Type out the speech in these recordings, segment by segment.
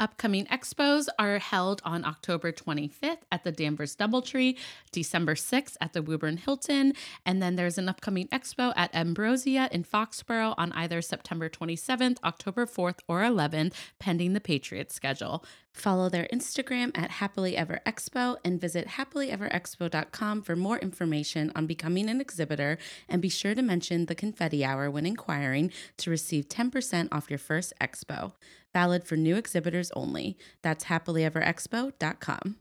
Upcoming expos are held on October 25th at the Danvers Doubletree, December 6th at the Woburn Hilton, and then there's an upcoming expo at Ambrosia in Foxborough on either September 27th, October 4th, or 11th, pending the Patriots schedule. Follow their Instagram at Happily Ever Expo and visit happilyeverexpo.com for more information on becoming an exhibitor. And be sure to mention the Confetti Hour when inquiring to receive 10% off your first expo. Valid for new exhibitors only. That's happilyeverexpo.com.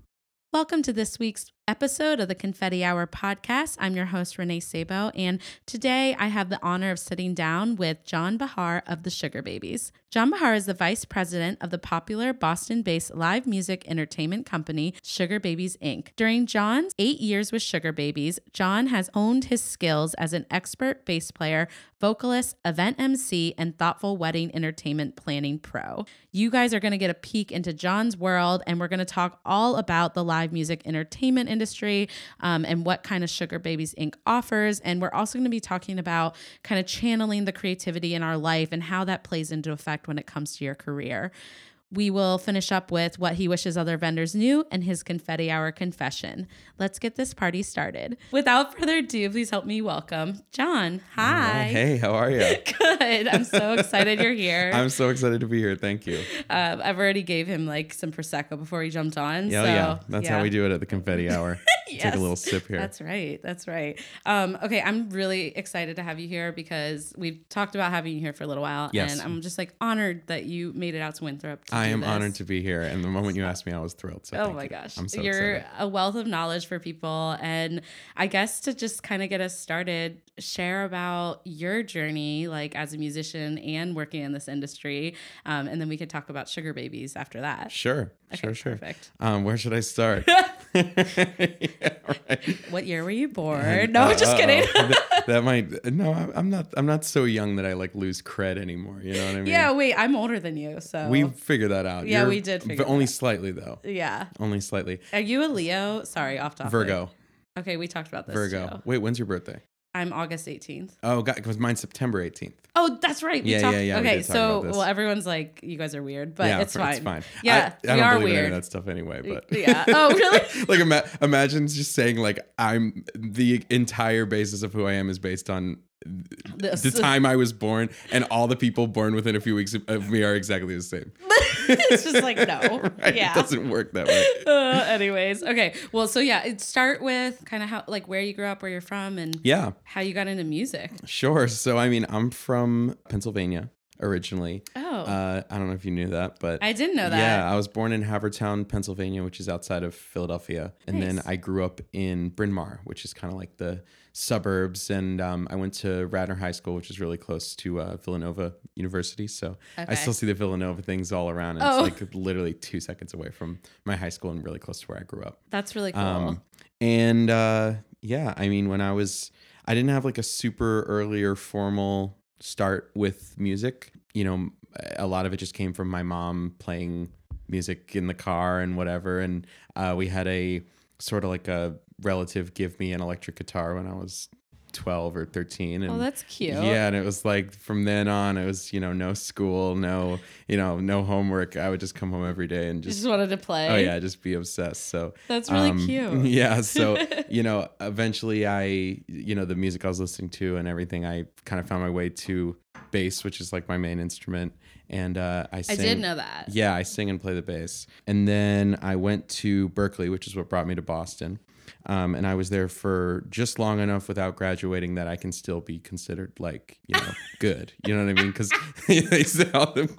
Welcome to this week's episode of the Confetti Hour podcast. I'm your host, Renee Sabo, and today I have the honor of sitting down with John Bahar of the Sugar Babies. John Bahar is the vice president of the popular Boston based live music entertainment company, Sugar Babies Inc. During John's eight years with Sugar Babies, John has honed his skills as an expert bass player, vocalist, event MC, and thoughtful wedding entertainment planning pro. You guys are going to get a peek into John's world, and we're going to talk all about the live music entertainment industry um, and what kind of Sugar Babies Inc. offers. And we're also going to be talking about kind of channeling the creativity in our life and how that plays into effect when it comes to your career. We will finish up with what he wishes other vendors knew and his confetti hour confession. Let's get this party started. Without further ado, please help me welcome John. Hi. Oh, Hey, how are you? Good. I'm so excited you're here. I'm so excited to be here. Thank you. Um, I've already gave him like some prosecco before he jumped on. Yeah, oh, so, yeah. That's how we do it at the confetti hour. Take Yes. a little sip here. That's right. That's right. Um, okay, I'm really excited to have you here because we've talked about having you here for a little while, Yes. and I'm just like honored that you made it out to Winthrop. To I do am this. honored to be here. And the moment you asked me, I was thrilled. So Oh thank my you. gosh. I'm so You're excited. a wealth of knowledge for people. And I guess to just kind of get us started, share about your journey, like as a musician and working in this industry. Um, and then we could talk about sugar babies after that. Sure, Okay, sure, sure. Perfect. Um, where should I start? Yeah, right. What year were you born? No, Uh, just kidding. uh-oh. that, that might. No, I- I'm not. I'm not so young that I like lose cred anymore. You know what I mean? yeah, wait, I'm older than you. So We figured that out. Yeah, we did figure But only slightly though. Yeah. Only slightly. Are you a Leo? Sorry, off topic. Virgo. Okay, we talked about this. Virgo. too. Wait, when's your birthday? I'm August 18th. Oh God, because mine's September 18th. Oh, that's right. We Yeah, talked. yeah, yeah, we Okay, did talk so about this. well, everyone's like, you guys are weird, but it's, f- fine. Yeah, Yeah, I, I we don't are believe in any weird. of that stuff anyway. But Yeah. Oh, really? like, ima- imagine just saying like I'm the entire basis of who I am is based on This- the time I was born, and all the people born within a few weeks of, of me are exactly the same. it's just like no. Right? It Yeah. doesn't work that way. Uh, anyways, okay. Well, so yeah, it start with kind of how like where you grew up, where you're from, and Yeah, how you got into music. sure. So I mean, I'm from Pennsylvania originally. Oh, Uh, I don't know if you knew that, but I didn't know that. Yeah, I was born in Havertown, Pennsylvania, which is outside of Philadelphia. And then Nice. I grew up in Bryn Mawr, which is kind of like the suburbs. And um, I went to Radnor High School, which is really close to uh, Villanova University. So Okay. I still see the Villanova things all around. And Oh. It's like literally two seconds away from my high school and really close to where I grew up. That's really cool. Um, and uh, yeah, I mean, when I was, I didn't have like a super early or formal start with music. You know, a lot of it just came from my mom playing music in the car and whatever. And uh, we had a sort of like a relative give me an electric guitar when I was 12 or 13. And oh, that's cute. yeah, and it was like from then on, it was, you know, no school, no, you know, no homework. I would just come home every day and You just just wanted to play. Oh yeah, just be obsessed. So That's really um, cute. Yeah. So you know, eventually I, you know, the music I was listening to and everything, I kind of found my way to bass, which is like my main instrument, and uh, I. I Sing, did know that. Yeah, I sing and play the bass, and then I went to Berkeley, which is what brought me to Boston. Um, and I was there for just long enough without graduating that I can still be considered like, you know, good. You know what I mean? Because they say all the,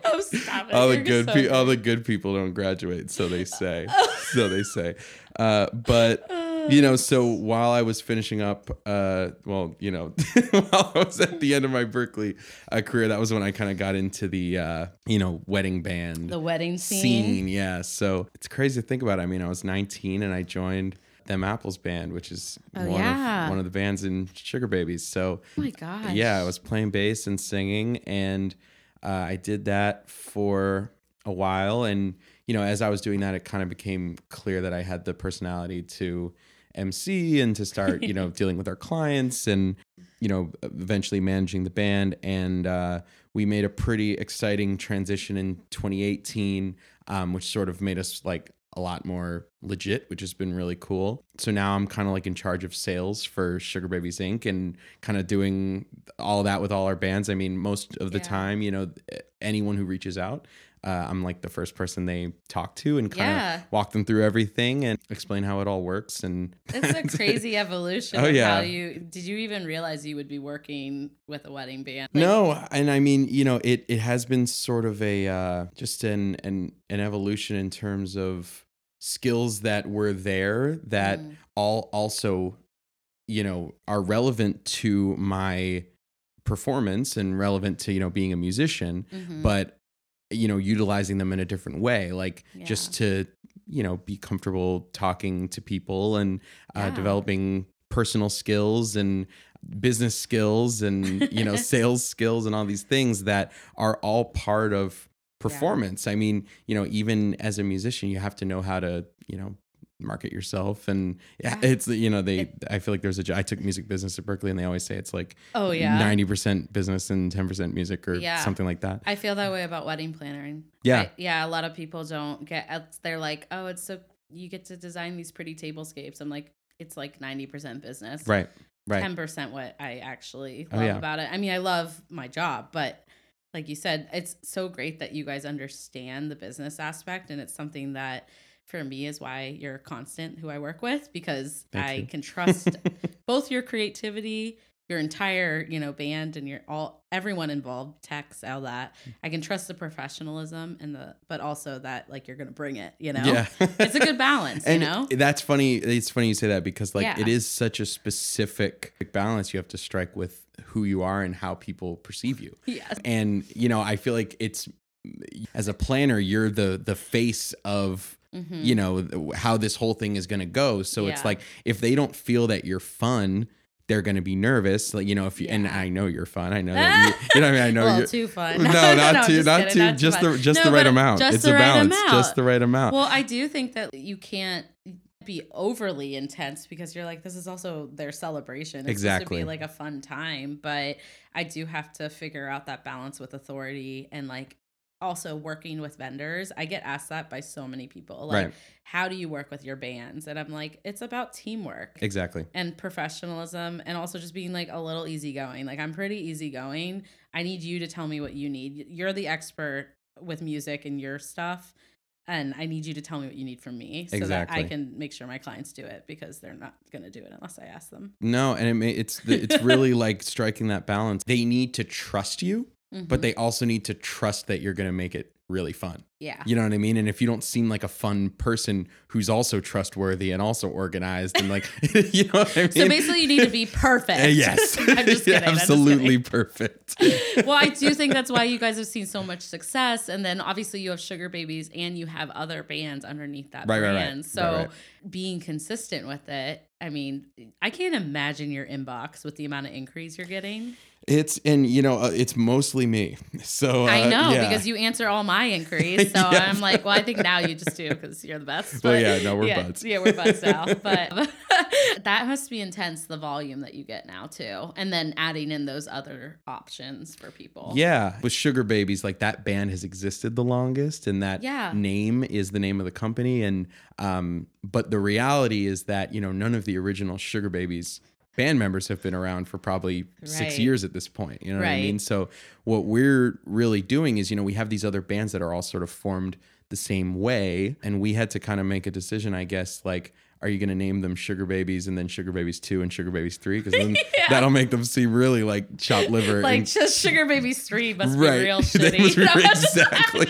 Oh, stop it. all the You're good so pe- oh, all the good people don't graduate, so they say. so they say. Uh, but you know, so while I was finishing up, uh, well, you know, while I was at the end of my Berkeley uh, career, that was when I kind of got into the uh, you know wedding band The wedding scene. scene. Yeah. So it's crazy to think about. I mean, I was 19 and I joined them Apples band, which is Oh, one yeah. of one of the bands in Sugar Babies. So Oh my gosh. yeah, I was playing bass and singing, and uh, I did that for a while. And you know, as I was doing that, it kind of became clear that I had the personality to MC and to start, you know, dealing with our clients and you know, eventually managing the band. And uh, we made a pretty exciting transition in 2018, um, which sort of made us like a lot more legit, which has been really cool. So now I'm kind of like in charge of sales for Sugar Babies Inc. and kind of doing all that with all our bands. I mean, most of the Yeah. time, you know, anyone who reaches out, uh, I'm like the first person they talk to and kind of Yeah. walk them through everything and explain how it all works. And It's a crazy evolution. Oh, of yeah. How you did you even realize you would be working with a wedding band? Like, no, and I mean, you know, it it has been sort of a uh, just an an an evolution in terms of skills that were there that Mm. all also, you know, are relevant to my performance and relevant to you know being a musician, Mhm. but you know, utilizing them in a different way, like just to you know be comfortable talking to people and uh, Yeah. developing personal skills and business skills and you know sales skills and all these things that are all part of performance i mean you know even as a musician you have to know how to you know market yourself and yeah, Yeah. it's you know they It- i feel like there's a jo- i took music business at berkeley and they always say it's like oh yeah. 90% business and 10% music or Yeah. something like that I feel that way about wedding planning. Yeah. I- yeah. A lot of people don't get. it's- They're like, oh, it's so you get to design these pretty tablescapes. I'm like, it's like ninety percent business. right right Ten percent what I actually Oh, love yeah. about it. I mean, I love my job, but like you said, it's so great that you guys understand the business aspect, and it's something that for me is why you're constant who I work with because Thank I you. can trust both your creativity your entire you know band and your all everyone involved techs all that Mm. i can trust the professionalism and the but also that like you're gonna bring it you know yeah it's a good balance you and know that's funny it's funny you say that because like Yeah. it is such a specific balance you have to strike with who you are and how people perceive you yes and you know i feel like it's as a planner you're the the face of Mhm. you know th- how this whole thing is going to go so Yeah. it's like if they don't feel that you're fun they're going to be nervous like you know if you and Yeah. i know you're fun i know that you, you know what i mean i know well, you're too fun. no, not too, just not kidding, too, too just fun. the just No, the right but amount. just it's the a right balance, just amount. the right amount. Well, I do think that you can't be overly intense because you're like, this is also their celebration. It's supposed to Exactly. be like a fun time, but I do have to figure out that balance with authority and like also working with vendors. I get asked that by so many people. Like, Right. how do you work with your bands? And I'm like, it's about teamwork exactly. and professionalism and also just being like a little easygoing. Like I'm pretty easygoing. I need you to tell me what you need. You're the expert with music and your stuff. And I need you to tell me what you need from me so that I Exactly. can make sure my clients do it because they're not going to do it unless I ask them. No, and it, ma- it's the- it's really like striking that balance. They need to trust you, but Mhm. they also need to trust that you're going to make it really fun. yeah. You know what I mean? And if you don't seem like a fun person who's also trustworthy and also organized and like, you know what I mean? So basically, you need to be perfect. Uh, yes, I'm just kidding. I'm just absolutely perfect. well, I do think that's why you guys have seen so much success. And then obviously you have Sugar Babies and you have other bands underneath that Right, right, right. brand. So Right, being consistent with it, I mean, I can't imagine your inbox with the amount of inquiries you're getting. It's and you know uh, it's mostly me. So uh, I know yeah. because you answer all my inquiries. So Yeah. I'm like, well, I think now you just do because you're the best. Well, But- yeah, no, we're yeah, buds. Yeah, we're buds now. But that must be intense, the volume that you get now, too. And then adding in those other options for people. Yeah. With Sugar Babies, like that band has existed the longest and that Yeah. name is the name of the company. And um, but the reality is that, you know, none of the original Sugar Babies band members have been around for probably Right. six years at this point. You know what I Right. mean? So what we're really doing is, you know, we have these other bands that are all sort of formed the same way. And we had to kind of make a decision, I guess, like, are you going to name them Sugar Babies and then Sugar Babies 2 and Sugar Babies 3? Because then that'll make them seem really like chopped liver. like and- just Sugar Babies three must Right. be real They shitty. must be- No, I'm just- exactly. I'm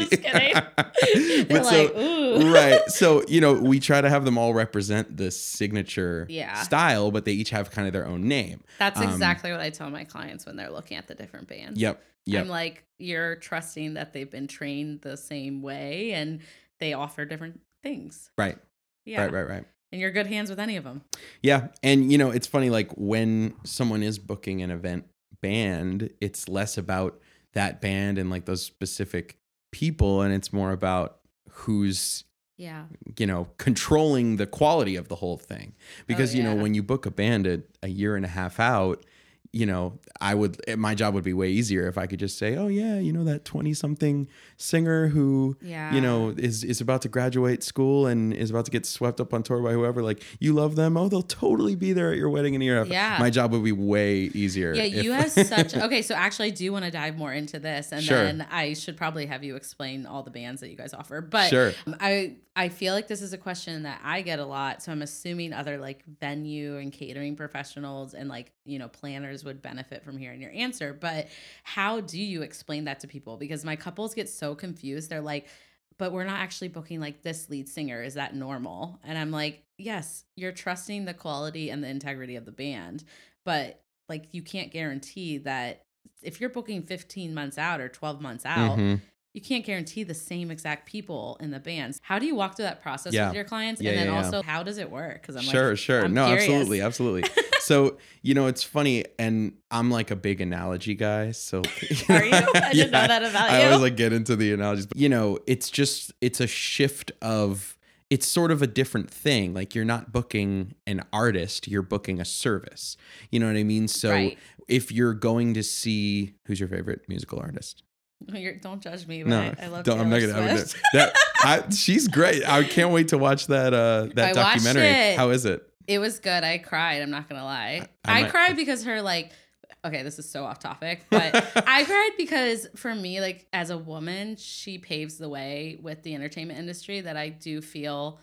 just kidding. They're But so- like, ooh. right. So, you know, we try to have them all represent the signature Yeah. style, but they each have kind of their own name. That's Um, exactly what I tell my clients when they're looking at the different bands. Yep. Yep. I'm like, you're trusting that they've been trained the same way and they offer different things. right. Yeah. Right. Right. Right. And you're good hands with any of them. Yeah. And, you know, it's funny, like when someone is booking an event band, it's less about that band and like those specific people, and it's more about who's Yeah. you know controlling the quality of the whole thing because you know Oh, yeah. when you book a band a, a year and a half out you know i would eh, my job would be way easier if i could just say oh yeah you know that 20 something singer who Yeah. you know is is about to graduate school and is about to get swept up on tour by whoever like you love them oh they'll totally be there at your wedding in a year Yeah. my job would be way easier Yeah, if- you have such okay. So actually, I do want to dive more into this, and Sure. then I should probably have you explain all the bands that you guys offer. But Sure. um, I I feel like this is a question that I get a lot. So I'm assuming other like venue and catering professionals and like you know planners would benefit from hearing your answer. But how do you explain that to people? Because my couples get so confused. They're like. But we're not actually booking like this lead singer. Is that normal? And I'm like, yes, you're trusting the quality and the integrity of the band, but like you can't guarantee that if you're booking 15 months out or 12 months out Mhm. you can't guarantee the same exact people in the bands how do you walk through that process Yeah. with your clients Yeah, and then yeah, yeah. also how does it work because i'm sure, like sure. I'm no, curious. absolutely, absolutely. so, you know, it's funny, and I'm like a big analogy guy. So, are you i didn't know that about I you always like get into the analogies, but you know, it's just it's a shift of it's sort of a different thing. Like you're not booking an artist, you're booking a service. You know what I mean? So Right. if you're going to see who's your favorite musical artist? You're- don't judge me but No, I, I love don't, I'm not Taylor gonna. I'm Swift. gonna- that I, she's great. I can't wait to watch that uh that I watched documentary. it. How is it? It was good. I cried. I'm not gonna lie. I- I I, might- cried because her like. Okay, this is so off topic, but I cried because for me, like as a woman, she paves the way with the entertainment industry that I do feel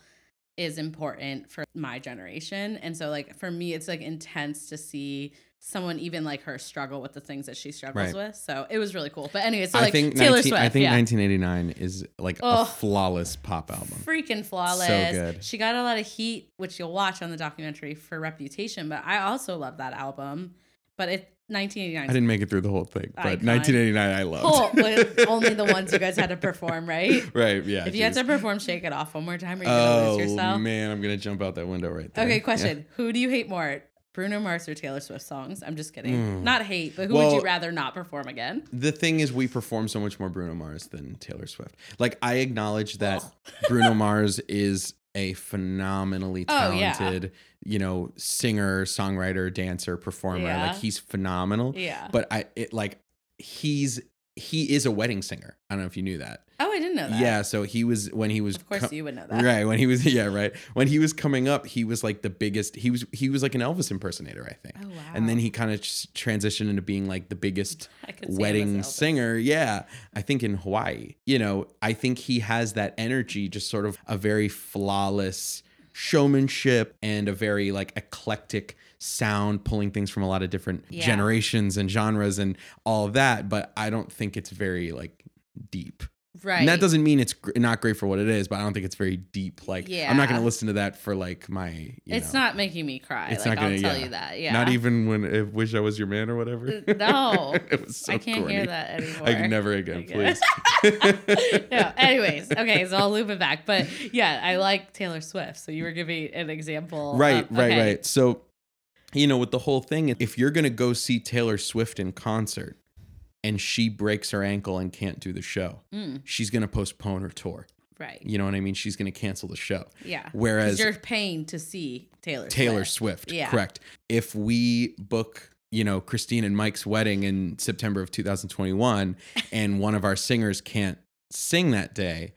is important for my generation. And so, like for me, it's like intense to see someone even like her struggle with the things that she struggles Right. with. So it was really cool. But anyway, so I like think Taylor 19 Swift, I think yeah. 1989 is like a Oh. flawless pop album. freaking flawless. good. She got a lot of heat, which you'll watch on the documentary for Reputation. But I also love that album. But it I 1989. didn't make it through the whole thing, but Icon. 1989 I Cool. loved. but only the ones you guys had to perform, right? right? Yeah. if you had geez. to perform "Shake It Off" one more time, are you gonna oh lose yourself? man, I'm gonna jump out that window right there. Okay, Yeah. question: Who do you hate more, Bruno Mars or Taylor Swift songs? I'm just kidding. Mm. Not hate, but who would Well- you rather not perform again? The thing is, we perform so much more Bruno Mars than Taylor Swift. Like I acknowledge that Bruno Mars is a phenomenally Oh, yeah. talented, you know, singer, songwriter, dancer, performer. Yeah. Like he's phenomenal. Yeah. But I it like he's he is a wedding singer. I don't know if you knew that. oh, I didn't know that. Yeah, so he was when he was Of course, co- you would know that. right when he was yeah right when he was coming up he was like the biggest he was he was like an Elvis impersonator I think Oh wow. and then he kind of transitioned into being like the biggest I could see him as wedding Elvis. singer yeah I think in Hawaii you know I think he has that energy just sort of a very flawless showmanship and a very like eclectic sound pulling things from a lot of different Yeah. generations and genres and all of that but I don't think it's very like deep Right. and that doesn't mean it's gr- not great for what it is, but I don't think it's very deep. Like, I'm not going Yeah. to listen to that for like my. You It's know, not making me cry. It's like not gonna- I'll tell yeah. you that. Yeah. Not even when I wish I was your man or whatever. Uh, no. it was so I can't corny. hear that anymore. I can never again, Okay. please. no. Anyways, okay, so I'll loop it back. But yeah, I like Taylor Swift. So you were giving an example. right, of- right, uh, okay. right. So, you know, with the whole thing, if you're going to go see Taylor Swift in concert and she breaks her ankle and can't do the show, Mm, she's going to postpone her tour. right. You know what I mean? She's going to cancel the show. Yeah. Whereas Because you're paying to see Taylor. Taylor Swift. Swift. Yeah. Correct. If we book, you know, Christine and Mike's wedding in September of 2021 and one of our singers can't sing that day,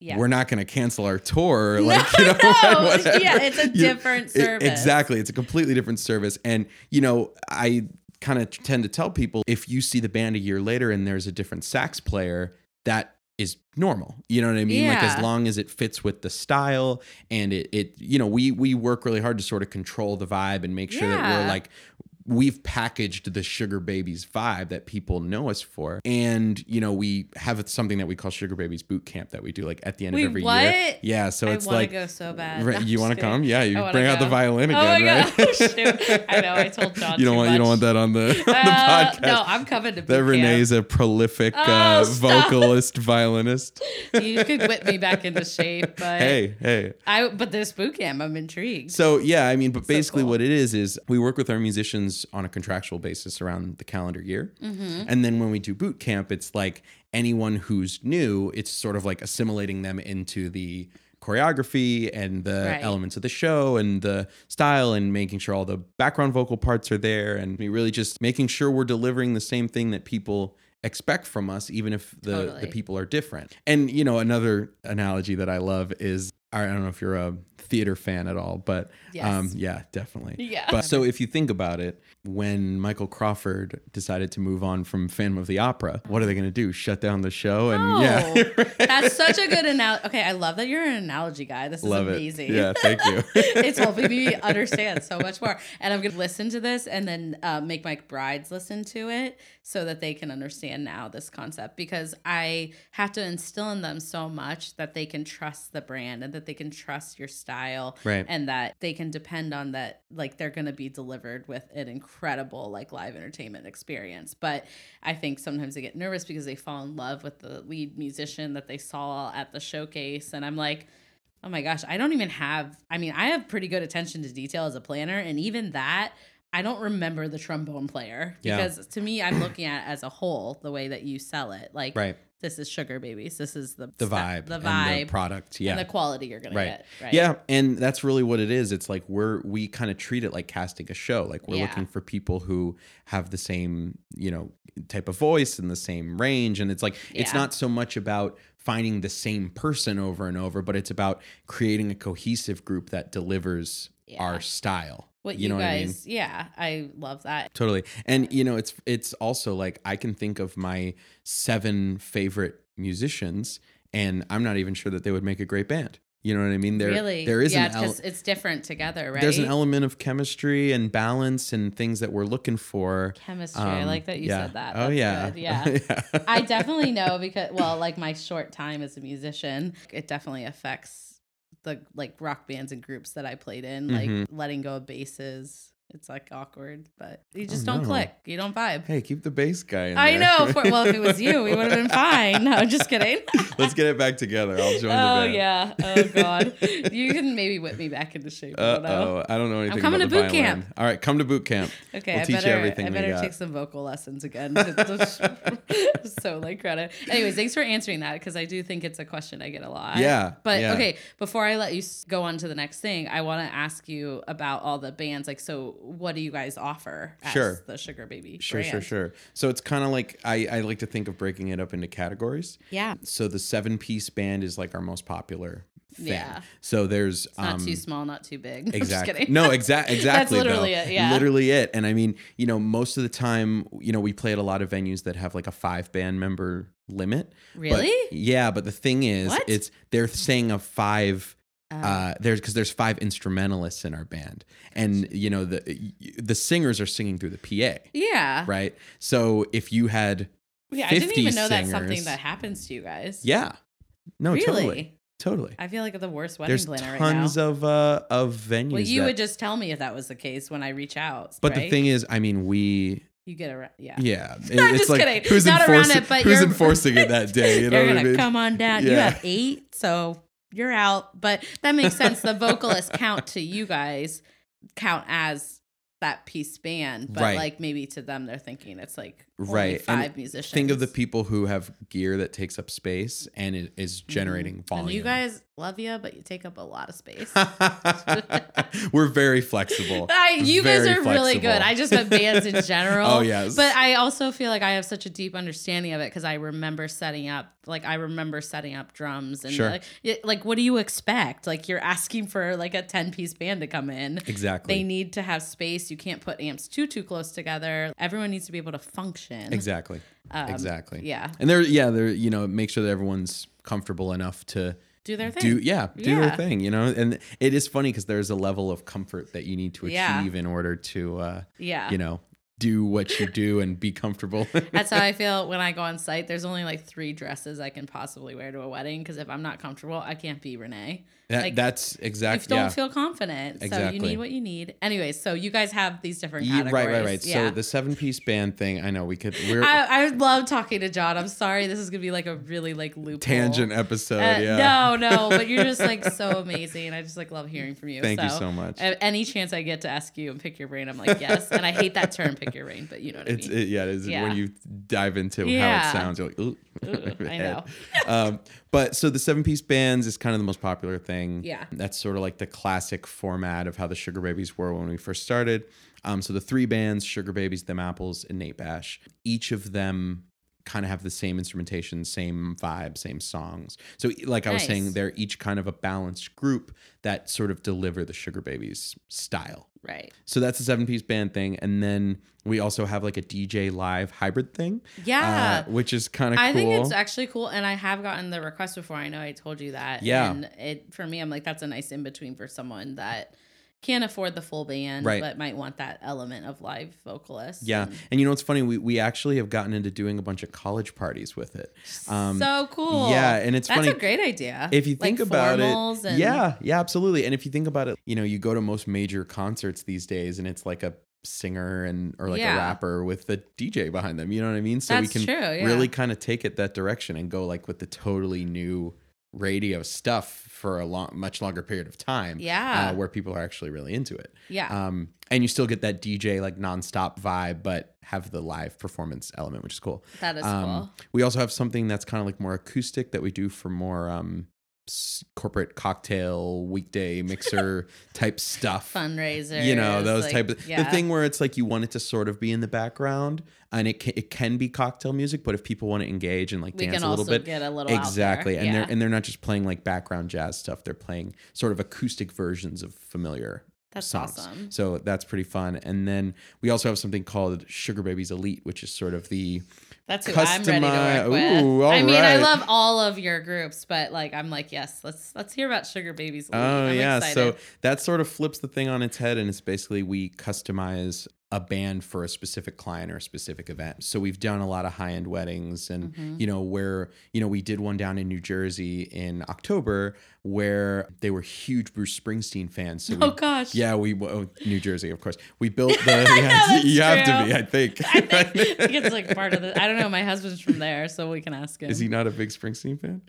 Yeah. we're not going to cancel our tour. Like, you know, no. whatever. Yeah, it's a You- different it- service. E, exactly. It's a completely different service. And, you know, I kind of tend to tell people if you see the band a year later and there's a different sax player, that is is normal. You know what I mean? Like Yeah. as long as it fits with the style and it it you know, we we work really hard to sort of control the vibe and make sure that Yeah. we're like we've packaged the sugar babies vibe that people know us for and you know we have something that we call sugar babies boot camp that we do like at the end Wait, of every year what? yeah so I it's wanna like go so bad. Right, No, I'm you just want to kidding. come yeah you wanna bring out go. the violin Oh again my right gosh. Shoot. I know. I told John you don't too want you don't much. want that on the, on the Uh, podcast no, I'm coming to boot that camp. Renee's a prolific Oh, uh, stop. vocalist, violinist. you could whip me back into shape, but Hey, hey. I but this boot camp, I'm intrigued. So yeah, I mean, but basically cool. what it is is we work with our musicians on a contractual basis around the calendar year, Mm-hmm. and then when we do boot camp, it's like anyone who's new, it's sort of like assimilating them into the choreography and the Right. elements of the show and the style and making sure all the background vocal parts are there and we really just making sure we're delivering the same thing that people expect from us even if the Totally. the people are different. And you know, another analogy that I love is I don't know if you're a theater fan at all, but Yes. um, yeah, definitely. Yeah. But so if you think about it, when Michael Crawford decided to move on from Phantom of the Opera, what are they going to do? Shut down the show? And yeah, Oh, that's such a good analogy. Okay, I love that you're an analogy guy. This is love amazing. it. Yeah, thank you. it's helping me understand so much more. And I'm going to listen to this and then uh, make my brides listen to it so that they can understand now this concept because I have to instill in them so much that they can trust the brand and that they can trust your style Right. and that they can depend on that like they're going to be delivered with an incredible like live entertainment experience. But I think sometimes they get nervous because they fall in love with the lead musician that they saw at the showcase and I'm like Oh my gosh, I don't even have. I mean, I have pretty good attention to detail as a planner, and even that, I don't remember the trombone player Yeah. because to me, I'm looking at it as a whole the way that you sell it. Like, Right. this is sugar babies. This is the The stu- vibe, the and vibe, the product. Yeah. and the quality you're gonna right. get. Right. Yeah, and that's really what it is. It's like we're we kind of treat it like casting a show. Like we're Yeah. looking for people who have the same, you know, type of voice and the same range and it's like it's Yeah. not so much about finding the same person over and over, but it's about creating a cohesive group that delivers Yeah. our style. What you, guys? Yeah, I love that. Totally. And you know, it's it's also like I can think of my seven favorite musicians and I'm not even sure that they would make a great band. You know what I mean? There really, there is yeah, an ele- because it's different together, right? there's an element of chemistry and balance and things that we're looking for. chemistry. I Um, like that you yeah. said that. That's Oh yeah. good. yeah. I definitely know because well, like my short time as a musician, it definitely affects the like rock bands and groups that I played in, like Mhm. letting go of basses. It's like awkward, but you just Oh, don't no. click. You don't vibe. Hey, keep the bass guy in I there. know. For, well, if it was you, we would have been fine. No, I'm just kidding. Let's get it back together. I'll join the oh band. yeah. Oh god. You can maybe whip me back into shape. I don't know. Uh-oh. I don't know anything coming about to the boot violin. camp. All right, come to boot camp. Okay, We'll I teach you better, everything I we better got. take some vocal lessons again. to- to- so like credit. Anyways, thanks for answering that because I do think it's a question I get a lot. Yeah, But yeah. okay, before I let you s- go on to the next thing, I want to ask you about all the bands. Like, so what do you guys offer? As Sure. The Sugar Baby. Sure, sure, brand? sure. So it's kind of like I, I like to think of breaking it up into categories. Yeah. So the seven piece band is like our most popular thing. Yeah. So there's Not um, too small, not too big. Exactly. I'm just kidding. No, exa- exactly. literally though. it, yeah. Literally it. And I mean, you know, most of the time, you know, we play at a lot of venues that have like a five band member limit. But- Really? yeah. But the thing is, What? it's they're saying a five. Um, Uh, there's because there's five instrumentalists in our band, and you know the the singers are singing through the PA, yeah. right? So if you had, Yeah. I didn't 50 even know that's something singers. that happens to you guys. yeah, no, really? totally, totally. I feel like the worst wedding There's planner right now. tons of uh of venues. Well, you that- would just tell me if that was the case when I reach out. but the right? thing is, I mean, we you get around, yeah. Yeah, it- I'm just kidding. Not around enforcing it, but who's you're- enforcing it that day? You know You're what gonna I mean? come on down. You Yeah. have eight, so you're out. But that makes sense. The vocalists count to you guys, count as that piece band. But Right. like maybe to them, they're thinking it's like only Right, and five musicians. Think of the people who have gear that takes up space and it is generating Mm-hmm. And volume. you guys love you, but you take up a lot of space. We're very flexible. I, you guys Very are really flexible. good. I just meant bands in general. Oh, yes. But I also feel like I have such a deep understanding of it because I remember setting up, like I remember setting up drums and Sure. like, it- like, what do you expect? Like you're asking for like a ten piece band to come in. exactly. They need to have space. You can't put amps too too close together. Everyone needs to be able to function. exactly. Um, exactly. Yeah. And they're yeah, they're you know, make sure that everyone's comfortable enough to Do their thing. do yeah, do their Yeah. thing, you know? And it is funny cuz there's a level of comfort that you need to achieve Yeah. in order to uh yeah. you know, do what you do and be comfortable. That's how I feel when I go on site. There's only like three dresses I can possibly wear to a wedding because if I'm not comfortable, I can't be Renee. that, like, that's I exactly don't yeah. feel confident. So Exactly. you need what you need. Anyway, so you guys have these different Ye- categories. E, right, right, right. Yeah. So the seven-piece band thing, I know we could we're I, I love talking to John. I'm sorry. This is going to be like a really like loophole. tangent episode, Uh, yeah. No, no, but you're just like so amazing. I just like love hearing from you. Thank you so much. a- Any chance I get to ask you and pick your brain, I'm like, yes. And I hate that term, pick your brain, but you know what It's I mean. it, yeah, it is Yeah. when you dive into how Yeah. it sounds, you're like, ooh, Ooh, I know. um, but so the seven piece bands is kind of the most popular thing. Yeah. That's sort of like the classic format of how the Sugar Babies were when we first started. Um, so the three bands, Sugar Babies, Them Apples, and Nate Bash, each of them kind of have the same instrumentation, same vibe, same songs. So e, like I was Nice. saying, they're each kind of a balanced group that sort of deliver the Sugar Babies style. Right. So that's the seven piece band thing. And then we also have like a DJ live hybrid thing. Yeah. uh, which is kind of cool. I think it's actually cool, and I have gotten the request before. I know I told you that. Yeah. and it for me, I'm like that's a nice in between for someone that can't afford the full band, Right. but might want that element of live vocalists. Yeah. and- And you know what's funny? We, we actually have gotten into doing a bunch of college parties with it. Um, so cool. yeah, and it's that's funny- a great idea. if you Like think about formals it, and- yeah, yeah, absolutely. And if you think about it, you know, you go to most major concerts these days and it's like a singer and or like Yeah. a rapper with a DJ behind them. You know what I mean? So That's we can true, yeah. really kind of take it that direction and go like with the totally new radio stuff for a long much longer period of time. Yeah. Uh, where people are actually really into it. yeah, Um, and you still get that DJ like nonstop vibe, but have the live performance element, which is cool. that is Um, we also have something that's kind of like more acoustic that we do for more um, s- corporate cocktail weekday mixer type stuff. cool. Fundraiser, You know those type of the thing where it's like you want it to sort of be in the background, and it can, it can be cocktail music, but if people want to engage and like We dance can a little also bit, get a little out there. exactly, and Yeah. they're and they're not just playing like background jazz stuff; they're playing sort of acoustic versions of familiar That's songs. awesome. So that's pretty fun. And then we also have something called Sugar Babies Elite, which is sort of the That's who I'm ready customi- to work with. Ooh, all I mean, I right. love all of your groups, but like, I'm like, yes, let's let's hear about Sugar Babies. League. Oh I'm yeah, excited. so that sort of flips the thing on its head, and it's basically we customize a band for a specific client or a specific event. So we've done a lot of high end weddings, and Mm-hmm. you know where you know we did one down in New Jersey in October where they were huge Bruce Springsteen fans. So we, oh gosh, yeah, we oh, New Jersey, of course. We built the. yeah, that's you have to true. be, I think. I think, I think it's like part of the. I don't know. My husband's from there, so we can ask him. Is he not a big Springsteen fan?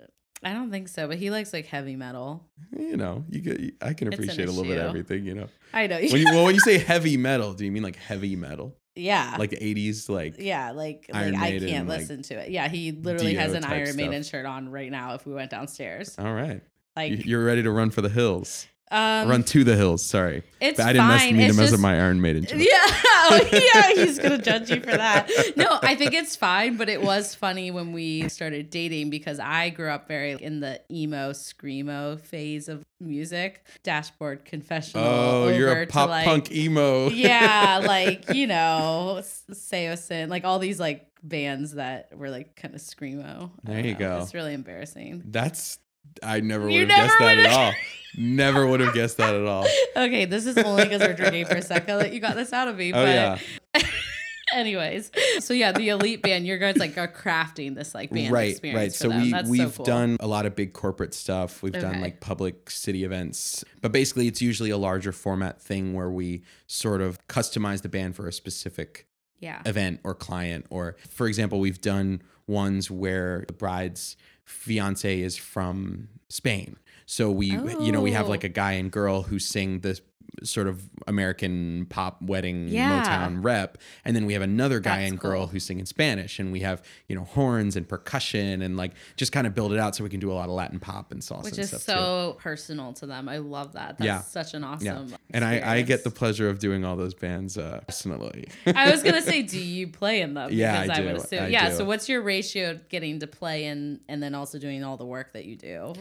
I don't think so, but he likes like heavy metal. You know, you get. I can It's an appreciate a little bit of issue. everything. You know, I know. when you, well, when you say heavy metal, do you mean like heavy metal? yeah. like 80s like yeah, like like Iron I Maiden, can't like, listen to it. Yeah, he literally has Dio an type Iron Maiden stuff. shirt on right now. If we went downstairs, all right like You- you're ready to run for the hills um, run to the hills sorry It's i didn't mess, fine, mean it's to mess just- up my iron maiden joke. Yeah, oh, yeah, he's gonna judge you for that. No, I think it's fine, but it was funny when we started dating because I grew up very in the emo screamo phase of music, dashboard confessional. oh you're over a to, pop like- punk emo yeah, like you know, S- Seosin, like all these like bands that were like kind of screamo. I There don't you know. go. It's really embarrassing. that's i never You would have guessed never that at would've- all never would have guessed that at all Okay, this is only because we're drinking prosecco that you got this out of me. oh but yeah Anyways, so yeah, the elite band, your guys like are crafting this like band right experience. right For so them. we That's we've so cool. done a lot of big corporate stuff we've Okay. done like public city events but basically it's usually a larger format thing where we sort of customize the band for a specific yeah, event or client or for example we've done ones where the bride's fiance is from Spain so we you know we have Oh. like a guy and girl who sing the sort of American pop wedding Yeah. Motown rep. And then we have another guy That's and girl cool. who sing in Spanish. And we have, you know, horns and percussion and like just kind of build it out so we can do a lot of Latin pop and salsa which and is stuff. too. so personal to them. I love that. That's Yeah. such an awesome. Yeah. And I, I get the experience. pleasure of doing all those bands uh, personally. I was gonna say, do you play in them? Yeah, I do. I yeah. do. So what's your ratio getting to play in, and then also doing all the work that you do?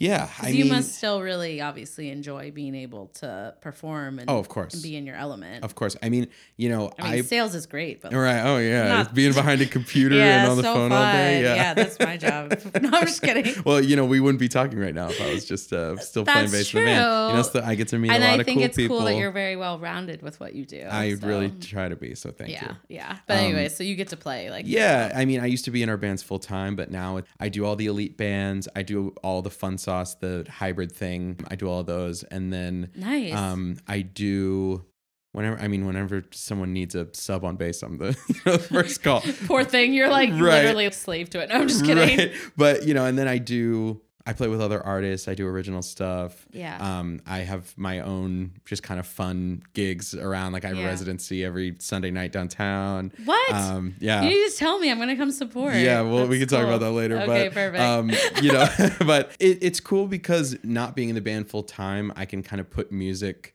yeah. I 'Cause you mean, must still really obviously enjoy being able to perform and, oh, of course. and be in your element. Of course. I mean, you know, I mean, sales is great, but All right. Oh yeah, Not- being behind a computer and on the phone all day. Yeah. that's my job. No, I'm just kidding. well, you know, we wouldn't be talking right now if I was just uh, still playing That's bass with a band. You know, true. so I get to meet and a lot I of think cool it's people. cool that you're very well rounded with what you do. I so, really try to be. So thank yeah, you. yeah. But Um, anyway, so you get to play like Yeah, I mean, I used to be in our bands full time, but now it- I do all the elite bands. I do all the fun sauce, the hybrid thing. I do all those, and then nice. um, I do whenever. I mean, whenever someone needs a sub on bass, I'm the, you know, the first call. Poor thing, you're like Right. literally a slave to it. No, I'm just kidding. Right. But you know, and then I do I play with other artists, I do original stuff. Yeah. Um, I have my own just kind of fun gigs around. Like I have Yeah. a residency every Sunday night downtown. What? Um, yeah. you need to tell me. I'm gonna come support. Yeah, well, we can That's talk about cool. that later. Okay, but, perfect. Um, you know, but it, it's cool because not being in the band full time, I can kind of put music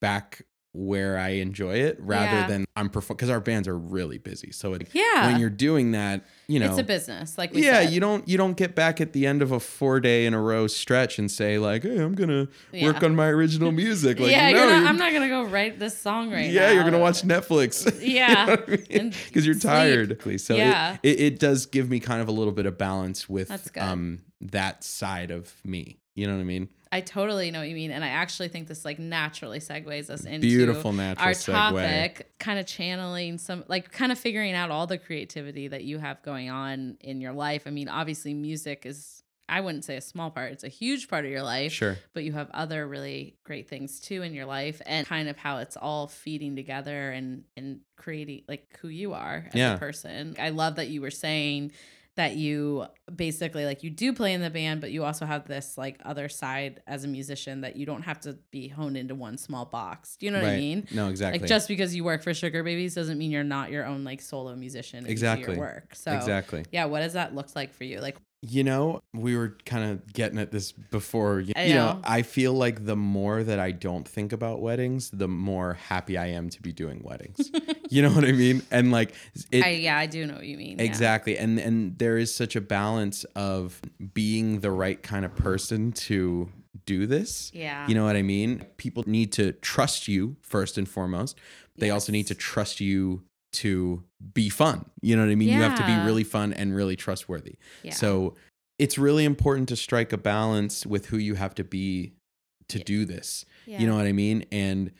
back where I enjoy it rather Yeah. than I'm performing because our bands are really busy. So like, Yeah. when you're doing that, you know, it's a business, like we yeah said. you don't you don't get back at the end of a four day in a row stretch and say like hey i'm gonna work Yeah. on my original music like yeah, no you're not, you're- I'm not gonna go write this song right now. yeah you're gonna watch netflix Yeah. because you And are sleep. tired so it- Yeah. it, it, does give me kind of a little bit of balance with That's good. um that side of me you know what i mean I totally know what you mean, and I actually think this like naturally segues us into beautiful natural our segue topic, kind of channeling some, like, kind of figuring out all the creativity that you have going on in your life. I mean, obviously, music is, I wouldn't say a small part, it's a huge part of your life, sure but you have other really great things too in your life, and kind of how it's all feeding together and, and creating like who you are as Yeah. a person. I love that you were saying that you basically like you do play in the band but you also have this like other side as a musician that you don't have to be honed into one small box do you know what i Right. mean no exactly like just because you work for Sugar Babies doesn't mean you're not your own like solo musician. and Do Exactly. your work. So exactly yeah, what does that look like for you? Like You know, we were kind of getting at this before. You, I you know. know. I feel like the more that I don't think about weddings, the more happy I am to be doing weddings. you know what I mean? And like, it, I yeah, I do know what you mean. yeah. exactly. And and there is such a balance of being the right kind of person to do this. Yeah. You know what I mean? People need to trust you first and foremost. They also Yes. need to trust you to be fun. You know what I mean? You have to Yeah. be really fun and really trustworthy. Yeah. So it's really important to strike a balance with who you have to be to do this. yeah. You know what I mean? And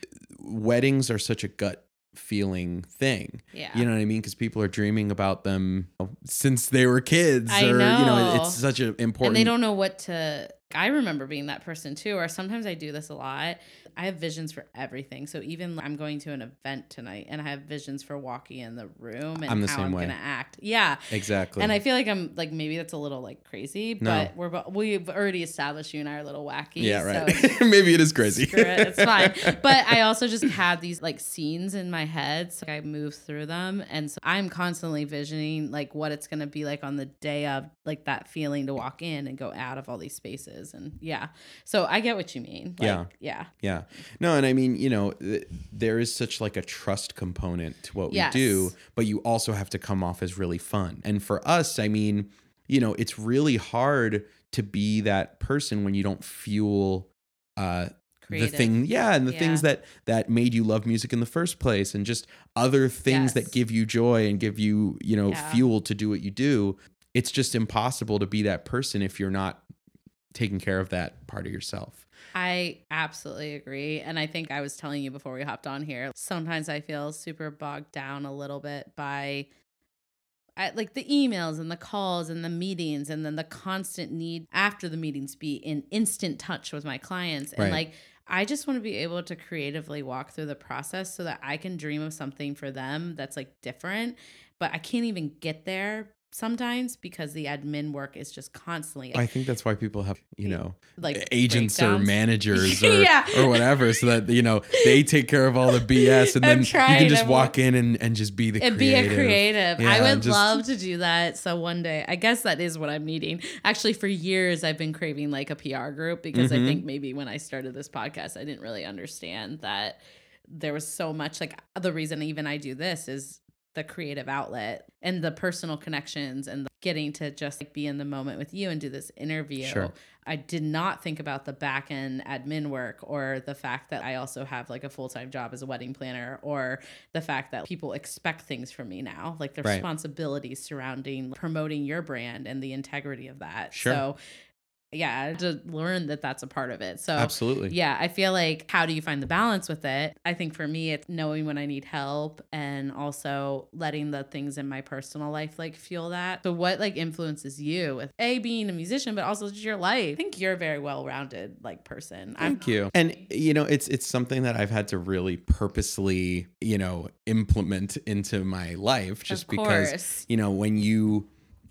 weddings are such a gut feeling thing. yeah. You know what I mean? Because people are dreaming about them oh, since they were kids. I or, you know, know. it's such an and important they don't know what to I remember being that person too, or sometimes I do this a lot. I have visions for everything. So even like, I'm going to an event tonight and I have visions for walking in the room and I'm the how same I'm way. gonna act. Yeah. exactly. And I feel like I'm like maybe that's a little like crazy, but we're bo- we've already established you and I are a little wacky. yeah, right. So Maybe it is crazy. Screw it, it's fine. But I also just had these like scenes in my head, so I move through them, and so I'm constantly visioning like what it's gonna be like on the day of, like that feeling to walk in and go out of all these spaces, and yeah. So I get what you mean. Like, Yeah. yeah, Yeah. No, and I mean, you know, th- there is such like a trust component to what Yes. we do, but you also have to come off as really fun. And for us, I mean, you know, it's really hard to be that person when you don't fuel uh creative. the thing yeah and the Yeah. things that that made you love music in the first place and just other Yes. things that give you joy and give you you know Yeah. fuel to do what you do it's just impossible to be that person if you're not taking care of that part of yourself I absolutely agree. And I think I was telling you before we hopped on here, sometimes I feel super bogged down a little bit by I, like the emails and the calls and the meetings, and then the constant need after the meetings be in instant touch with my clients. And Right. like, I just want to be able to creatively walk through the process so that I can dream of something for them that's like different, but I can't even get there sometimes because the admin work is just constantly I think that's why people have, you know, like agents or breakdowns. managers or, Yeah. or whatever, so that you know they take care of all the BS, and I'm then you trying, can just I'm- walk in and, and just be the and be creative. a creative. I Yeah, would and just- love to do that. So one day, I guess that is what I'm needing. Actually, for years, I've been craving like a PR group because I Mhm. think maybe when I started this podcast, I didn't really understand that there was so much. Like the reason even I do this is the creative outlet and the personal connections and the getting to just like be in the moment with you and do this interview. Sure. I did not think about the back end admin work or the fact that I also have like a full time job as a wedding planner or the fact that people expect things from me now, like the Right. responsibilities surrounding promoting your brand and the integrity of that. Sure. So, yeah, I had to learn that that's a part of it. So, Absolutely. yeah, I feel like how do you find the balance with it? I think for me, it's knowing when I need help and also letting the things in my personal life like fuel that. So, what like influences you with a being a musician, but also just your life? I think you're a very well rounded like person. Thank you. And you know, it's it's something that I've had to really purposely, you know, implement into my life just Of because course. you know, when you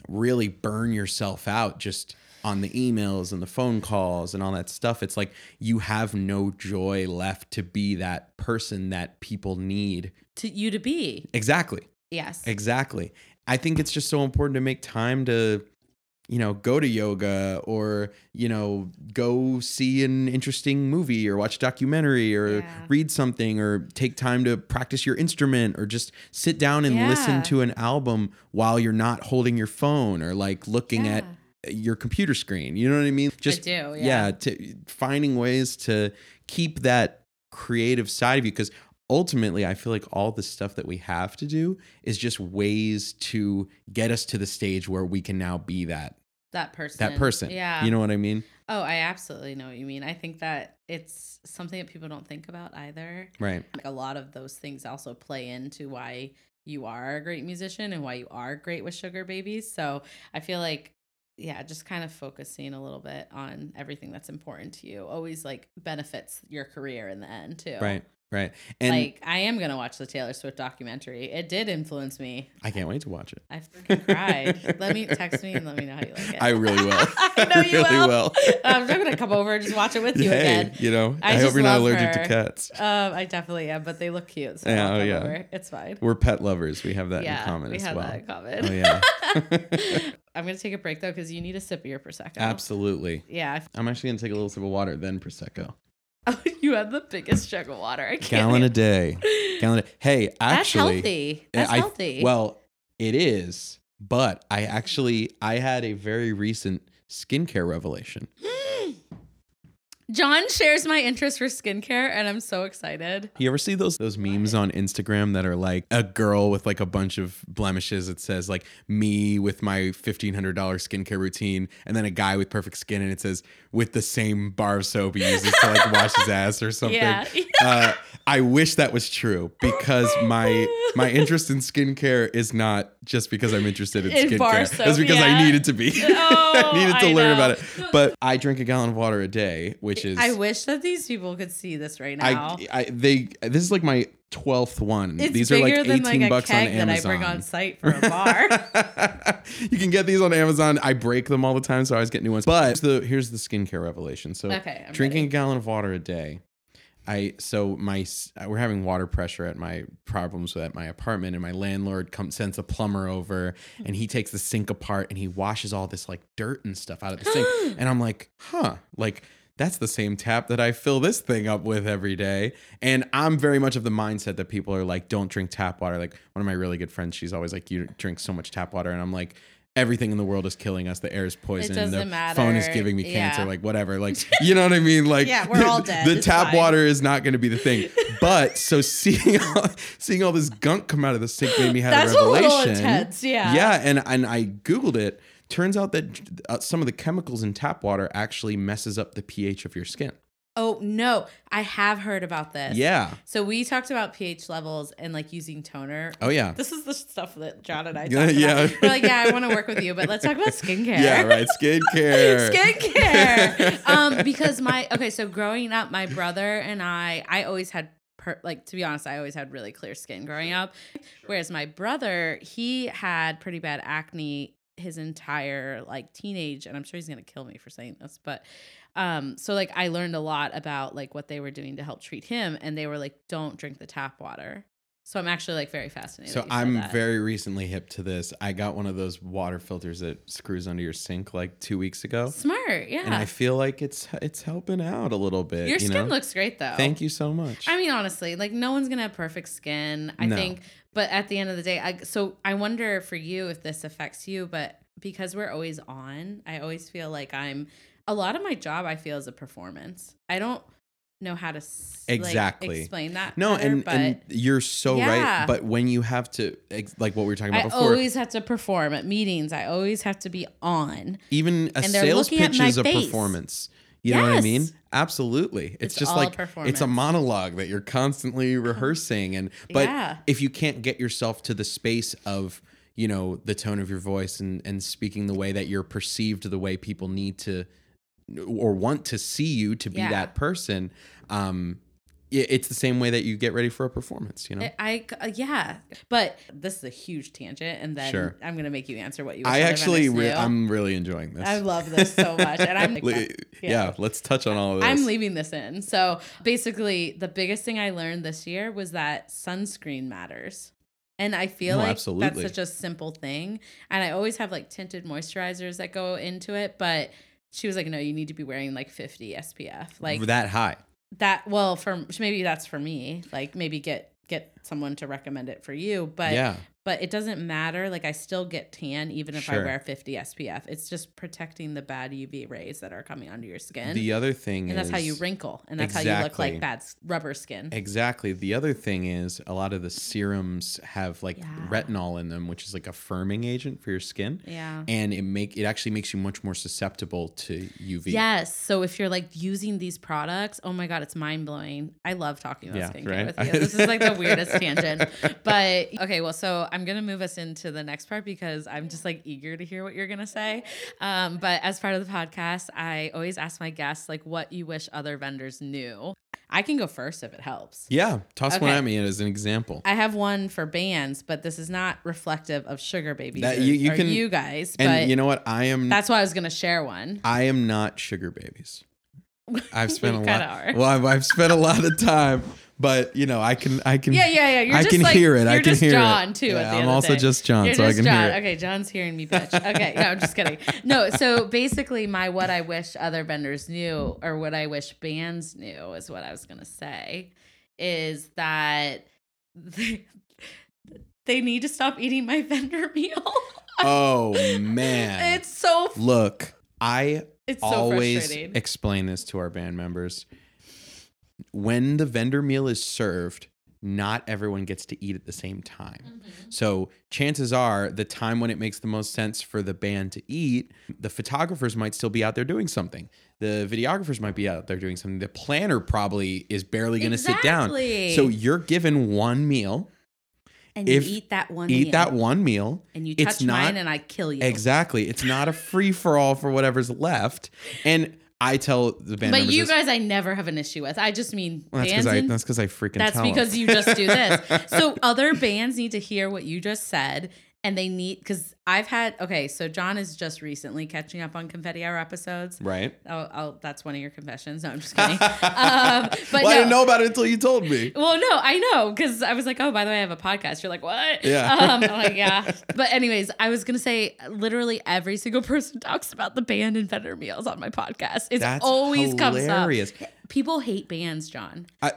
really burn yourself out just on the emails and the phone calls and all that stuff, it's like you have no joy left to be that person that people need. to you to be. Exactly. Yes. Exactly. I think it's just so important to make time to, you know, go to yoga or, you know, go see an interesting movie or watch a documentary or Yeah. read something or take time to practice your instrument or just sit down and Yeah. listen to an album while you're not holding your phone or like looking at Yeah. your computer screen. You know what I mean? Just do, yeah. to finding ways to keep that creative side of you because ultimately I feel like all the stuff that we have to do is just ways to get us to the stage where we can now be that that person. that person. Yeah. You know what I mean? Oh, I absolutely know what you mean. I think that it's something that people don't think about either. Right. Like a lot of those things also play into why you are a great musician and why you are great with sugar babies. So I feel like, yeah, just kind of focusing a little bit on everything that's important to you always like benefits your career in the end too. Right. Right. And like I am gonna watch the Taylor Swift documentary. It did influence me. I can't wait to watch it. I freaking cried. let me text me and let me know how you like it. I really will. I know you really will. will. I'm just gonna come over and just watch it with you Hey, again. you know, I I, hope just you're not love allergic her. to cats. Um, I definitely am, but they look cute. So Yeah, I'll oh, come yeah. over. it's fine. We're pet lovers. We have that yeah, in common we as have well. that in common. Oh yeah. I'm gonna take a break though because you need a sip of your prosecco. Absolutely. Yeah. I'm actually gonna take a little sip of water, then prosecco. Oh, you have the biggest jug of water. I can't. Gallon a even- day. Gallon. A, hey, That's actually, healthy. Yeah, That's I- healthy. Well, it is, but I actually I had a very recent skincare revelation. John shares my interest for skincare, and I'm so excited. You ever see those those memes on Instagram that are like a girl with like a bunch of blemishes? It says like me with my fifteen hundred dollar skincare routine, and then a guy with perfect skin, and it says with the same bar of soap he uses to like wash his ass or something. Yeah. uh, I wish that was true because my my interest in skincare is not just because I'm interested in In skincare. bar soap, it's because yeah. I needed to be. Oh, I needed to I learn know. about it. But I drink a gallon of water a day, which is I wish that these people could see this right now. I, I they this is like my twelfth one. it's These are bigger like than eighteen like a bucks keg on that I Amazon. bring on site for a bar. you can get these on Amazon. I break them all the time, so I always get new ones. But here's the here's the skincare revelation. So Okay, I'm drinking ready. a gallon of water a day. I so my s- we're having water pressure at my problems at my apartment, and my landlord comes sends a plumber over, and he takes the sink apart and he washes all this like dirt and stuff out of the sink, and I'm like, huh, like. That's the same tap that I fill this thing up with every day. And I'm very much of the mindset that people are like, don't drink tap water. Like, one of my really good friends, she's always like, you drink so much tap water. And I'm like, everything in the world is killing us. The air is poison. the doesn't matter. phone is giving me cancer. Yeah. Like, whatever. Like, you know what I mean? Like, Yeah, we're all dead. The It's tap fine. water is not going to be the thing. But so seeing all, seeing all this gunk come out of the sink made me have That's a a little revelation. intense, yeah. Yeah, and and I googled it. Turns out that uh, some of the chemicals in tap water actually messes up the pH of your skin. oh no, I have heard about this. Yeah. So we talked about pH levels and like using toner. Oh yeah. This is the stuff that John and I Yeah, talked yeah. about. We're like, yeah, I want to work with you, but let's talk about skincare. Yeah, right. Skincare. skincare. um, because my okay, so growing up, my brother and I, I always had per- like to be honest, I always had really clear skin growing up. Whereas my brother, he had pretty bad acne his entire like teenage and I'm sure he's going to kill me for saying this, but um so like I learned a lot about like what they were doing to help treat him and they were like don't drink the tap water. So I'm actually like very fascinated. So that you said I'm that. very recently hip to this. I got one of those water filters that screws under your sink like two weeks ago, smart. Yeah. and I feel like it's it's helping out a little bit. Your you skin know? looks great though. Thank you so much. I mean, honestly, like no one's gonna have perfect skin. I No. think, but at the end of the day, I, so I wonder for you if this affects you. But because we're always on, I always feel like I'm. A lot of my job, I feel, is a performance. I don't know how to s- like, Exactly. explain that. no, better, and, but and you're so Yeah. right. But when you have to, ex- like what we were talking I about before, always have to perform at meetings. I always have to be on. even a and they're sales looking at pitch my is a face. performance. You know what I mean? Yes. Absolutely. It's, It's just all like it's performance. a monologue that you're constantly rehearsing and but Yeah. if you can't get yourself to the space of, you know, the tone of your voice and and speaking the way that you're perceived the way people need to or want to see you to be Yeah. that person, um it- it's the same way that you get ready for a performance, you know. I I- yeah, but this is a huge tangent, and then Sure. I'm gonna make you answer what you. wish I other actually vendors re- knew. I'm really enjoying this. I love this so much, and I'm Le- yeah, let's touch on all of this. I'm leaving this in. So basically, the biggest thing I learned this year was that sunscreen matters. And I feel No, like absolutely. that's such a simple thing. And I always have like tinted moisturizers that go into it, but she was like, no, you need to be wearing like 50 SPF. Like that, that high. well, for maybe that's for me. Like maybe get get someone to recommend it for you. But yeah. but it doesn't matter. Like I still get tan even if I Sure. wear 50 SPF. It's just protecting the bad UV rays that are coming onto your skin. the other thing and that's how is- you wrinkle, and that's how you look Exactly. like bad s- rubber skin. Exactly. The other thing is a lot of the serums have like Yeah. retinol in them, which is like a firming agent for your skin. Yeah. And it make it actually makes you much more susceptible to UV. Yes. So if you're like using these products, oh my God, it's mind blowing. I love talking about Yeah, skincare right? with you. This is like the weirdest tangent. But okay, well, so I'm going to move us into the next part because I'm just like eager to hear what you're going to say. Um, but as part of the podcast, I always ask my guests like what you wish other vendors knew. I can go first if it helps. Yeah. Toss one Okay. at me as an example. I have one for bands, but this is not reflective of sugar babies That- or, you- you, you can- you guys. and but you know what? I am That's why I was gonna share one. I am not sugar babies. I've spent a You lot. kinda are. Well, I've, I've spent a lot of time, but you know, I can, I can, Yeah, yeah, yeah. You're I just can like- hear it. You're I can just hear John it. too. Yeah, at the I'm end of also the day. just John, You're so I just can John. hear it. Okay, John's hearing me, bitch. Okay, no, I'm just kidding. No, so basically, my what I wish other vendors knew, or what I wish bands knew, is what I was gonna say, is that they, they need to stop eating my vendor meal. Oh man, it's so look, I it's so always frustrating. explain this to our band members. When the vendor meal is served, not everyone gets to eat at the same time. Mm-hmm. So chances are the time when it makes the most sense for the band to eat, the photographers might still be out there doing something. The videographers might be out there doing something. The planner probably is barely going to Exactly. sit down. So you're given one meal, and you if- eat that one. eat meal, that one meal. and you touch It's not- mine, and I kill you. Exactly. It's not a free for all for whatever's left. And I tell the band But members you this- guys, I never have an issue with. I just mean Well, that's bands. because I in- that's because I freaking that's tell 'em. because you just do this. so other bands need to hear what you just said, and they need because I've had okay. So John is just recently catching up on Confetti Hour episodes. right. Oh, oh that's one of your confessions. No, I'm just kidding. um, but well, no. I didn't know about it until you told me. Well, no, I know because I was like, oh, by the way, I have a podcast. You're like, what? Yeah. Um, I'm like, yeah. But anyways, I was gonna say, literally every single person talks about the band and vendor meals on my podcast. It's That's always hilarious. comes up. People hate bands, John. I,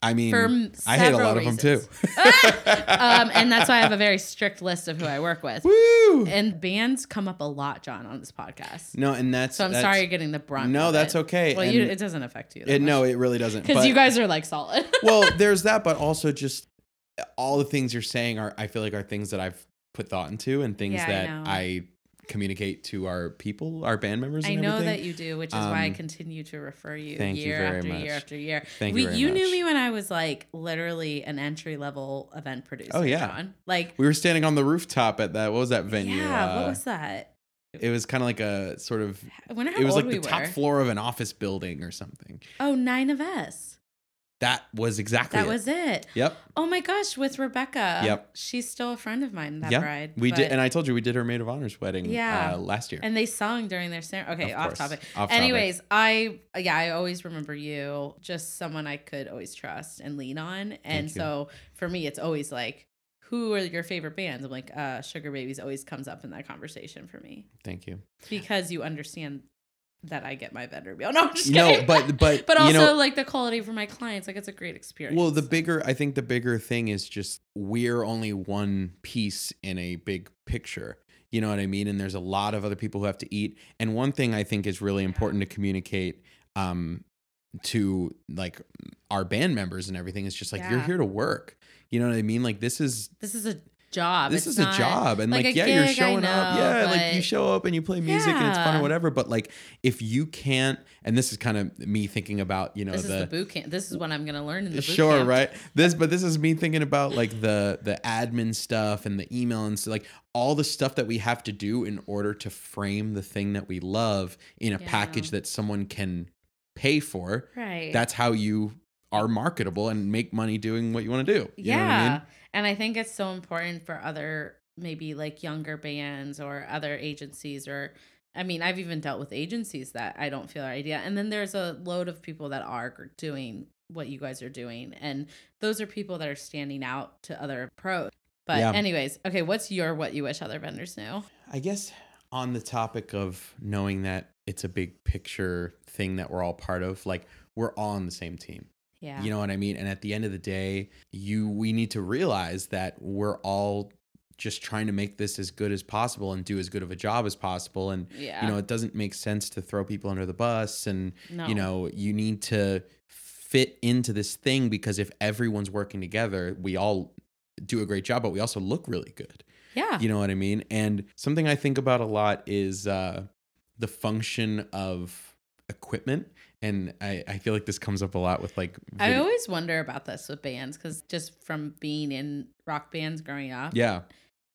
I mean, For m- Mm. I hate a several lot of them reasons. too. um, and that's why I have a very strict list of who I work with. Woo! And bands come up a lot, John, on this podcast. No, and that's So I'm that's- sorry you're getting the brunt. No, of that's it. okay, Well, you, and- it doesn't affect you. It, no, it really doesn't. because But- you guys are like solid. well, there's that, but also just all the things you're saying are I feel like are things that I've put thought into and things Yeah, I that know. I, communicate to our people, our band members. I and know everything. that you do, which is why I Um, continue to refer you thank you year very after year much. after year. Thank we, you very knew much. me when I was like literally an entry level event producer. Oh, yeah. John. like We were standing on the rooftop at that. What was that venue? yeah. Uh, what was that? it was kind of like a sort of I wonder how it was old like we the were. top floor of an office building or something. Oh, nine of us. That was exactly That it. was it. Yep. Oh my gosh, with Rebecca. Yep. She's still a friend of mine, that yeah. bride. we but- did and I told you we did her maid of honor's wedding Yeah. uh, last year. and they sung during their ceremony. Okay, Of off course. topic. Off topic. Anyways, I yeah, I always remember you, just someone I could always trust and lean on. And you. so for me, it's always like, who are your favorite bands? I'm like, uh, Sugar Babies always comes up in that conversation for me Thank you. because you understand that I get my vendor meal. No, I'm just No, kidding. but but but also you know, like the quality for my clients, like it's a great experience. Well, the so. bigger, I think the bigger thing is just we're only one piece in a big picture. You know what I mean? And there's a lot of other people who have to eat. And one thing I think is really important to communicate um, to like our band members and everything is just like, you're Yeah. here to work. You know what I mean? Like, this is. this is a job. This It's is not- a job, and like like, a yeah, you're gig, I showing up. know, Yeah, like you but- show up and you play music and it's fun Yeah. or whatever. But like, if you can't, and this is kind of me thinking about you know This the, is the boot camp. This is what I'm gonna learn in the boot sure camp. right this but this is me thinking about like the the admin stuff and the email and so like all the stuff that we have to do in order to frame the thing that we love in a Yeah. package that someone can pay for Right. that's how you are marketable and make money doing what you want to do you yeah. know what i mean And I think it's so important for other maybe like younger bands or other agencies or I mean, I've even dealt with agencies that I don't feel are idea. And then there's a load of people that are doing what you guys are doing. And those are people that are standing out to other pros. But Yeah. anyways, okay, what's your what you wish other vendors knew? I guess on the topic of knowing that it's a big picture thing that we're all part of, like we're all on the same team. Yeah. You know what I mean? And at the end of the day, you we need to realize that we're all just trying to make this as good as possible and do as good of a job as possible and yeah. you know, it doesn't make sense to throw people under the bus and no. you know, you need to fit into this thing because if everyone's working together, we all do a great job, but we also look really good. Yeah. You know what I mean? And something I think about a lot is uh, the function of equipment. And I, I feel like this comes up a lot with like, I vid- always wonder about this with bands because just from being in rock bands growing up, yeah,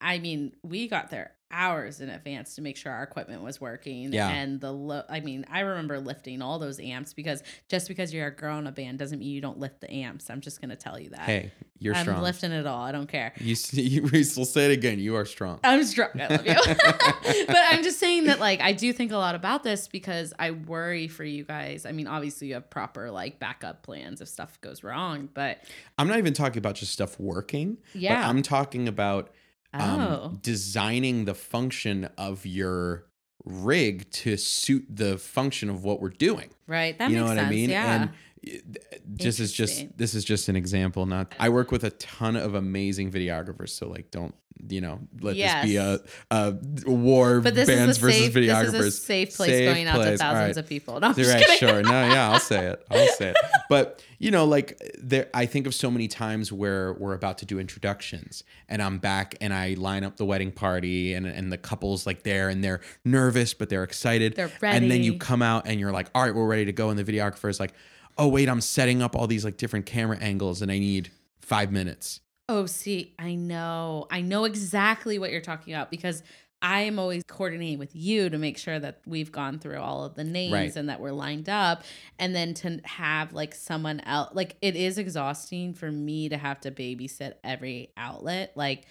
I mean, we got there hours in advance to make sure our equipment was working. Yeah. And the lo- I mean, I remember lifting all those amps because just because you're a girl in a band doesn't mean you don't lift the amps. I'm just gonna tell you that. hey, you're I'm strong. lifting it all. I don't care. you, s- you we still say it again. You are strong. I'm strong. I love you. but I'm just saying that, like, I do think a lot about this because I worry for you guys. I mean, obviously, you have proper, like, backup plans if stuff goes wrong. But I'm not even talking about just stuff working. yeah. But I'm um, talking about um, oh. designing the function of your rig to suit the function of what we're doing. Right. That you makes know what sense. I mean? Yeah. And uh, th- this is Interesting. just this is just an example. Not I work with a ton of amazing videographers, so like don't you know let this be a, Yes. a war But this is bands a versus safe, videographers. This is a safe place Safe going out to place. All thousands right. of people. No, I'm You're just right, kidding. sure. No, yeah, I'll say it. I'll say it. But you know, like there, I think of so many times where we're about to do introductions, and I'm back, and I line up the wedding party, and and the couples like there, and they're nervous, but they're excited. They're And then you ready. come out, and you're like, all right, we're ready to go, and the videographer is like, oh wait, I'm setting up all these like different camera angles, and I need five minutes. Oh, see, I know. I know exactly what you're talking about because I am always coordinating with you to make sure that we've gone through all of the names Right. and that we're lined up. And then to have like someone else, like it is exhausting for me to have to babysit every outlet. Like,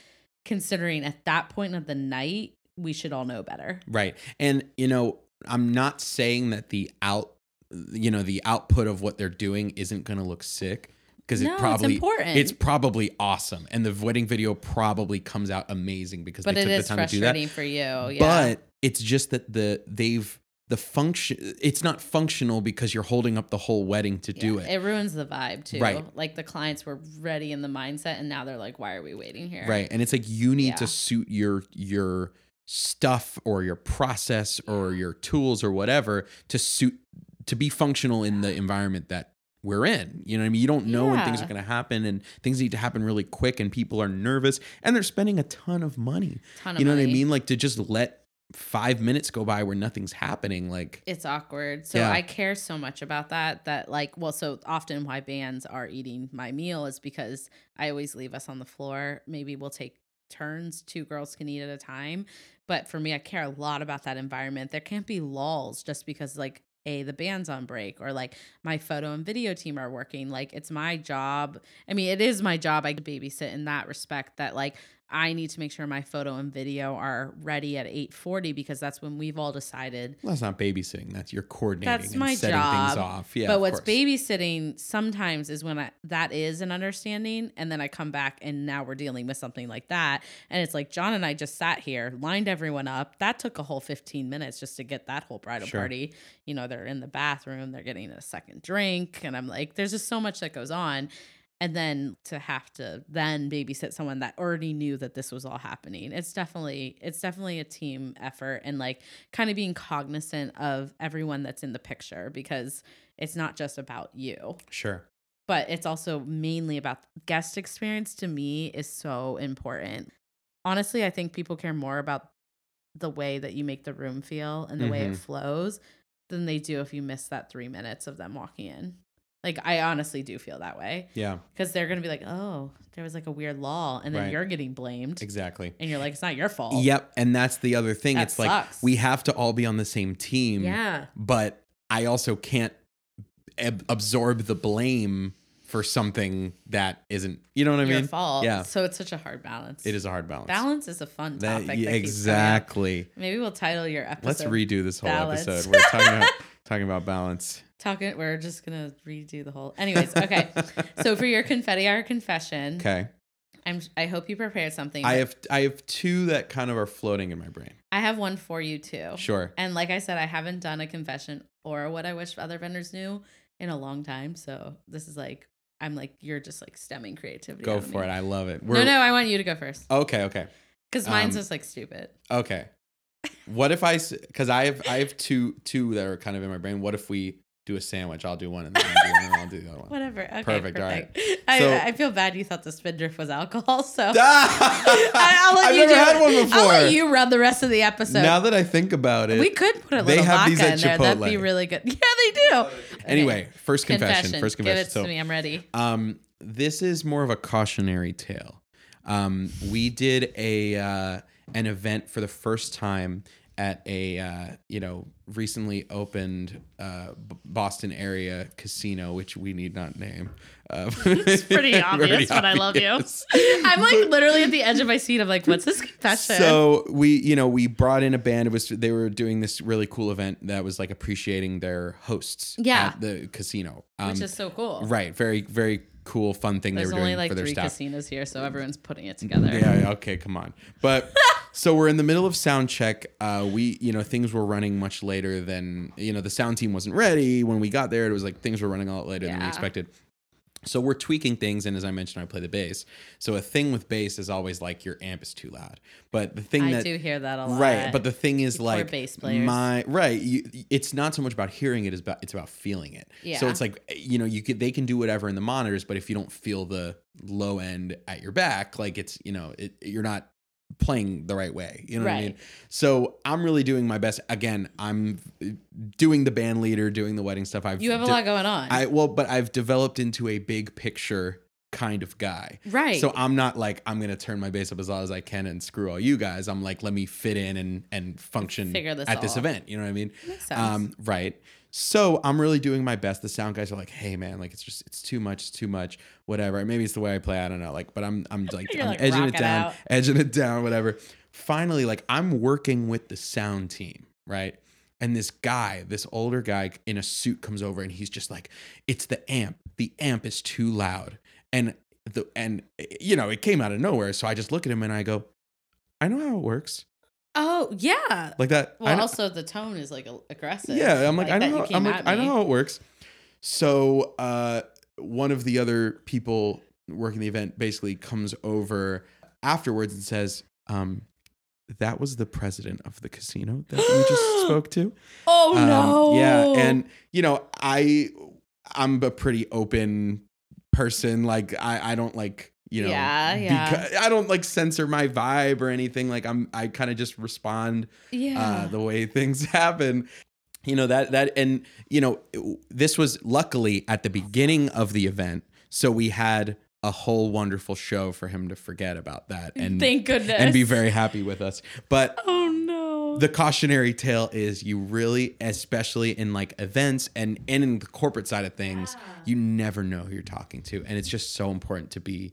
considering at that point of the night, we should all know better. Right. And you know, I'm not saying that the out you know, the output of what they're doing isn't going to look sick because No, it it's probably important. it's probably awesome and the wedding video probably comes out amazing because But they it took the is time to do that. frustrating for you. Yeah. But it's just that the they've the function it's not functional because you're holding up the whole wedding to do Yeah, it. It ruins the vibe too. Right. Like the clients were ready in the mindset and now they're like, why are we waiting here? Right. And it's like you need Yeah. to suit your your stuff or your process or your tools or whatever to suit to be functional in the environment that we're in. You know what I mean? You don't know when things Yeah. are going to happen and things need to happen really quick and people are nervous and they're spending a ton of money. Ton of you know what I money. mean? Like to just let 5 minutes go by where nothing's happening like It's awkward. So Yeah. I care so much about that that like well, so often why bands are eating my meal is because I always leave us on the floor. Maybe we'll take turns, two girls can eat at a time. But for me, I care a lot about that environment. There can't be lulls just because like hey, the band's on break, or like my photo and video team are working. Like it's my job. I mean, it is my job. I babysit in that respect that like I need to make sure my photo and video are ready at 8:40 because that's when we've all decided Well, that's not babysitting. That's you're coordinating That's and my setting job. things off. Yeah. but of what's course. babysitting sometimes is when I, that is an understanding, and then I come back and now we're dealing with something like that, and it's like John and I just sat here, lined everyone up. That took a whole fifteen minutes just to get that whole bridal Sure. party. You know, they're in the bathroom, they're getting a second drink, and I'm like, there's just so much that goes on. And then to have to then babysit someone that already knew that this was all happening. It's definitely it's definitely a team effort and like kind of being cognizant of everyone that's in the picture because it's not just about you Sure. but it's also mainly about guest experience to me is so important honestly i think people care more about the way that you make the room feel and the way it Mhm. flows than they do if you miss that three minutes of them walking in like i honestly do feel that way Yeah. because they're gonna be like oh there was like a weird lull and then Right. you're getting blamed Exactly. and you're like it's not your fault Yep. And that's the other thing. Oh. That it's sucks. like we have to all be on the same team. yeah But I also can't ab- absorb the blame for something that isn't. You know what I your mean? fault Yeah. so it's such a hard balance It is a hard balance. balance is a fun That- topic that, keeps coming up. exactly. maybe we'll title your episode Let's redo this whole balance. episode. We're talking about talking about balance. talking we're just gonna redo the whole anyways okay so for your confetti hour confession Okay. i'm i hope you prepared something I but have I have two that kind of are floating in my brain. i have one for you too Sure. and like i said i haven't done a confession or what i wish other vendors knew in a long time so this is like i'm like you're just like stemming creativity Go out of for it. me. I love it. no no i want you to go first Okay, okay. because mine's um, just like stupid Okay. What if I cuz I have I have two two that are kind of in my brain. What if we do a sandwich? I'll do one and then you do one and I'll do the other one. whatever okay perfect, perfect, all right. I, So- I feel bad you thought the spindrift was alcohol so I, I, i'll let have you never do had it. one before. i'll let you run the rest of the episode now that I think about it. we could put a They little have vodka these in at there. That'd be Chipotle. really good. Yeah, they do. Okay. anyway, first confession, first confession. Give it to me. I'm ready. Um, this is more of a cautionary tale. Um, we did a uh, an event for the first time at a uh, you know recently opened uh, B- Boston area casino, which we need not name. Uh, It's pretty obvious, but I love you. I'm like literally at the edge of my seat. I'm like, what's this confession? So we, you know, we brought in a band. It was they were doing this really cool event that was like appreciating their hosts Yeah. at the casino. Um, which is so cool. right, very very cool, fun thing There's they were doing only like for their three staff. casinos here, so everyone's putting it together. Yeah, yeah, okay, come on. But so we're in the middle of sound check. Uh, we, you know, things were running much later than, you know, the sound team wasn't ready. When we got there, it was like things were running a lot later than Yeah. we expected. So we're tweaking things. And as I mentioned, I play the bass. So a thing with bass is always like your amp is too loud. But the thing I that. do hear that a lot. Right, but the thing is, Poor like bass players. my right, you, it's not so much about hearing it; it's about it's about feeling it. So Yeah. it's like you know, you could they can do whatever in the monitors, but if you don't feel the low end at your back, like it's you know, it, you're not playing the right way. You know what I mean? Right. So I'm really doing my best. Again, I'm doing the band leader, doing the wedding stuff. I've you have a de- lot going on. I well, but I've developed into a big picture kind of guy. right. So I'm not like I'm gonna turn my bass up as loud as I can and screw all you guys. I'm like, let me fit in and and function Figure this at this all out. event. You know what I mean? Makes sense. Um, right. So I'm really doing my best. The sound guys are like, hey man, like it's just it's too much, it's too much, whatever. Maybe it's the way I play, I don't know. Like, but I'm I'm like You're I'm like, edging rock it it down, out. edging it down, whatever. Finally, like I'm working with the sound team, right? And this guy, this older guy in a suit comes over and he's just like, it's the amp. The amp is too loud. And the and you know, it came out of nowhere. So I just look at him and I go, I know how it works. oh yeah. Like that. I Well, know- also the tone is like a- aggressive. yeah, I'm like, I that know. you How, came I'm like, at I me. know how it works. So uh, one of the other people working the event basically comes over afterwards and says, um, "That was the president of the casino that you just spoke to." Oh Um, no. Yeah, and you know, I I'm a pretty open person. Like, I I don't like you know Yeah, yeah. beca- I don't like censor my vibe or anything. Like, I'm I kind of just respond yeah. uh, the way things happen. You know that that and you know it- this was luckily at the beginning of the event, so we had a whole wonderful Mm, show for him to forget about that and Thank goodness. and be very happy with us. But Oh no. the cautionary tale is you really, especially in like events and, and in the corporate side of things, you never know who you're talking to. And it's just so important to be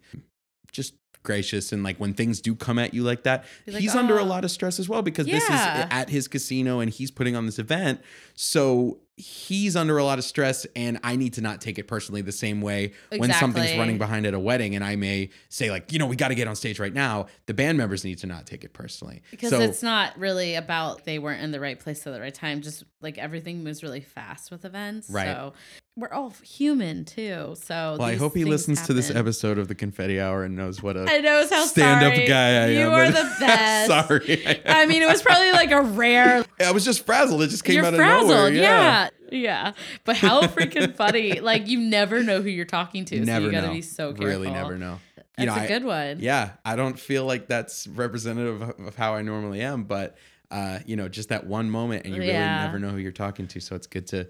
just gracious and like when things do come at you like that Be like, he's under a "Oh." lot of stress as well because this is Yeah. at his casino and he's putting on this event so he's under a lot of stress and i need to not take it personally the same way when something's Exactly. running behind at a wedding and i may say like you know we got to get on stage right now the band members need to not take it personally Because so it's not really about they weren't in the right place at the right time. Just like everything moves really fast with events. Right. So we're all human too. So well i these hope he things listens to this happen. episode of the confetti hour and knows what I a know how stand-up sorry. guy i you am are but- the best. sorry I, I mean, it was probably like a rare. I was just frazzled it just came you're out of frazzled. nowhere yeah. yeah. But how freaking funny. Like you never know who you're talking to. so never you gotta know. be so careful. really never know That's you know a I- good one. yeah i don't feel like that's representative of of how i normally am but uh, you know just that one moment and you really Yeah. never know who you're talking to so it's good to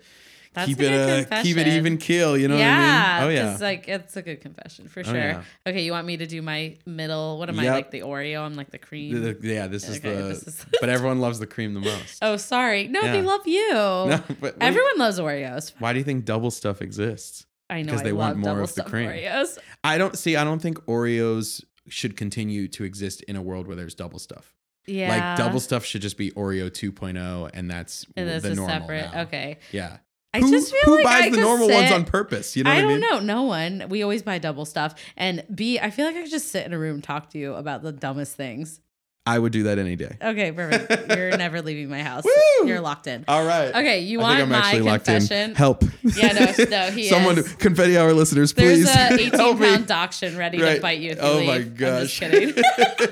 That's keep a it good uh, keep it confession. even keel you know yeah, what i mean oh yeah Oh, It's like it's a good confession for sure. yeah. Okay, you want me to do my middle? What am I Yep. like the Oreo? I'm like the cream. The- the- yeah this is Okay, the this is- but everyone loves the cream the most oh, sorry. No, they Yeah. love you. No, but what do you- Everyone lows Oreos. why do you think double stuff exists I know. Because I they love want more double of the stuffed cream. Oreos. i don't see i don't think oreos should continue to exist in a world where there's double stuff Yeah. like double stuff should just be oreo 2.0 and that's And this the is normal separate. now. Okay. yeah I who, just feel who like buys I the could normal ones sit- on purpose you know I what don't i mean know. No one. We always buy double stuff. And B, I feel like I could just sit in a room and talk to you about the dumbest things. i would do that any day Okay, perfect. You're never leaving my house. Woo! You're locked in. All right. Okay, you I want think I'm my actually locked confession? in. Help. Yeah, no, no, he Someone, is. confetti hour listeners, There's please. a 18 help pound me. dachshund ready to Right. bite you. If you Oh leave. my I'm just gosh. kidding.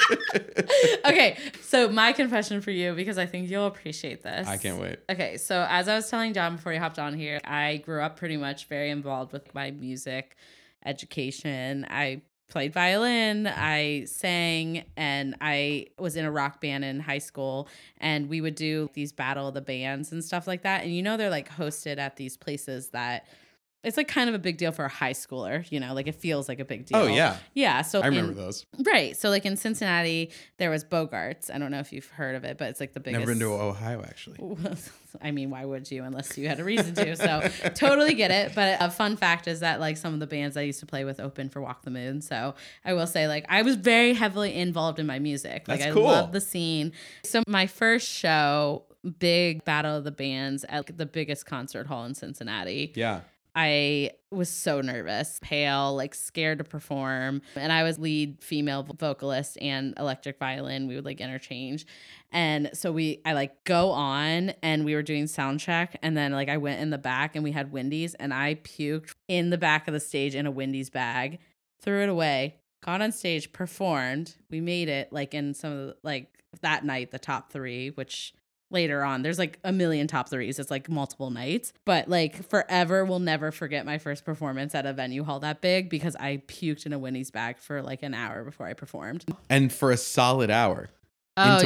okay, so my confession for you because I think you'll appreciate this. I can't wait. Okay, so as I was telling John before he hopped on here, I grew up pretty much very involved with my music education. I played violin, I sang, and I was in a rock band in high school. And we would do these battle of the bands and stuff like that. And you know, they're like hosted at these places that it's like kind of a big deal for a high schooler, you know, like it feels like a big deal. Oh yeah, Yeah. So I remember in- those. Right. So like in Cincinnati, there was Bogarts. I don't know if you've heard of it, but it's like the biggest Never been to Ohio actually. I mean, why would you unless you had a reason to? So, totally get it. But a fun fact is that, like, some of the bands I used to play with open for Walk the Moon. So, I will say, like, I was very heavily involved in my music. Like, That's I cool. love the scene. So, my first show, big battle of the bands at the biggest concert hall in Cincinnati. Yeah. I was so nervous, pale, like scared to perform. And I was lead female vocalist and electric violin. We would like interchange. And so we I like go on and we were doing sound check and then like I went in the back and we had Wendy's and I puked in the back of the stage in a Wendy's bag, threw it away, got on stage, performed. We made it like in some of the like that night, the top three, which later on there's like a million top threes it's like multiple nights but like forever will never forget my first performance at a venue hall that big because i puked in a winnie's bag for like an hour before i performed And for a solid hour. into one Oh, it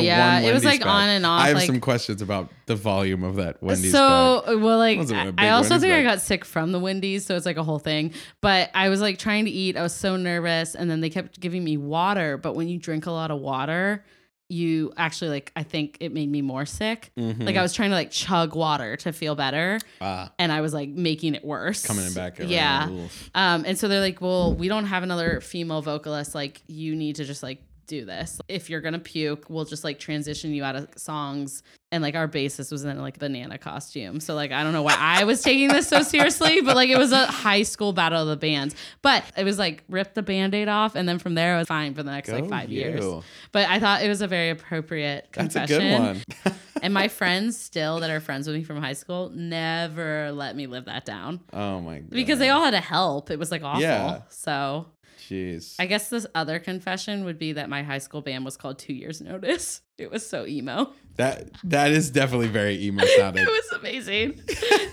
was Wendy's like bag. on and off I have like some questions about the volume of that Wendy's. so well like Wasn't it a i I big also Wendy's think i bag? got sick from the wendy's so it's like a whole thing but i was like trying to eat i was so nervous and then they kept giving me water but when you drink a lot of water you actually like i think it made me more sick bag. Mhm. like i was trying to like chug water to feel better Ah, and I was like making it worse. coming in back. around. Yeah. Oof. Um, and so they're like, well, we don't have another female vocalist. Like, you need to just like do this. If you're gonna puke, we'll just like transition you out of songs. And like our bassist was in like a banana costume. So like I don't know why I was taking this so seriously, but like it was a high school battle of the bands. But it was like rip the band-aid off and then from there I was fine for the next like Go five years. you. But I thought it was a very appropriate That's confession. a good one. And my friends still that are friends with me from high school never let me live that down Oh my god. because they all had to help. It was like awful. Yeah. So Jeez. I guess this other confession would be that my high school band was called Two Years Notice. It was so emo. that that is definitely very emo sounding. It was amazing,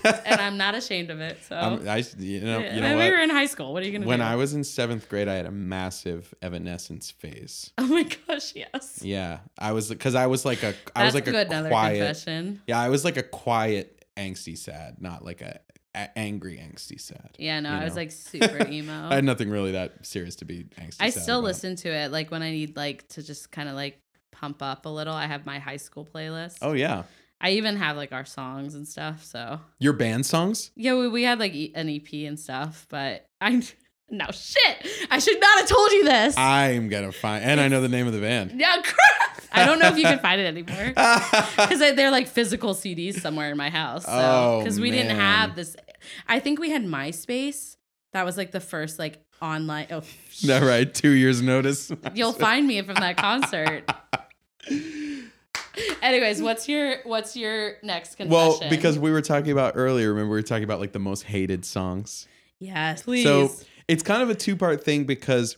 and I'm not ashamed of it. So I'm- I, you know, Yeah, you know and what? we were in high school. What are you gonna when do? I was in seventh grade, I had a massive Evanescence phase. oh my gosh, yes. Yeah, I was because I was like a I That's was like good. a another quiet. confession. Yeah, I was like a quiet angsty sad, not like a, a- angry angsty sad. Yeah, no, You I was know. like super emo. I had nothing really that serious to be angsty. Oh. I sad still about. listen to it like when I need like to just kind of like pump up a little. I have my high school playlist. Oh yeah, I even have like our songs and stuff. So your band songs. yeah, we, we had like e- an EP and stuff, but I'm no shit. I should not have told you this. I'm gonna find, and I know the name of the band. yeah, crap. I don't know if you can find it anymore. because they're like physical CDs somewhere in my house. So Oh, because we didn't man. have this, I think we had MySpace. That was like the first like online. Oh, no, right. Two years notice. you'll find me from that concert. Anyways, what's your what's your next confession? Well, because we were talking about earlier, remember we were talking about like the most hated songs. yes, please. So it's kind of a two part thing because,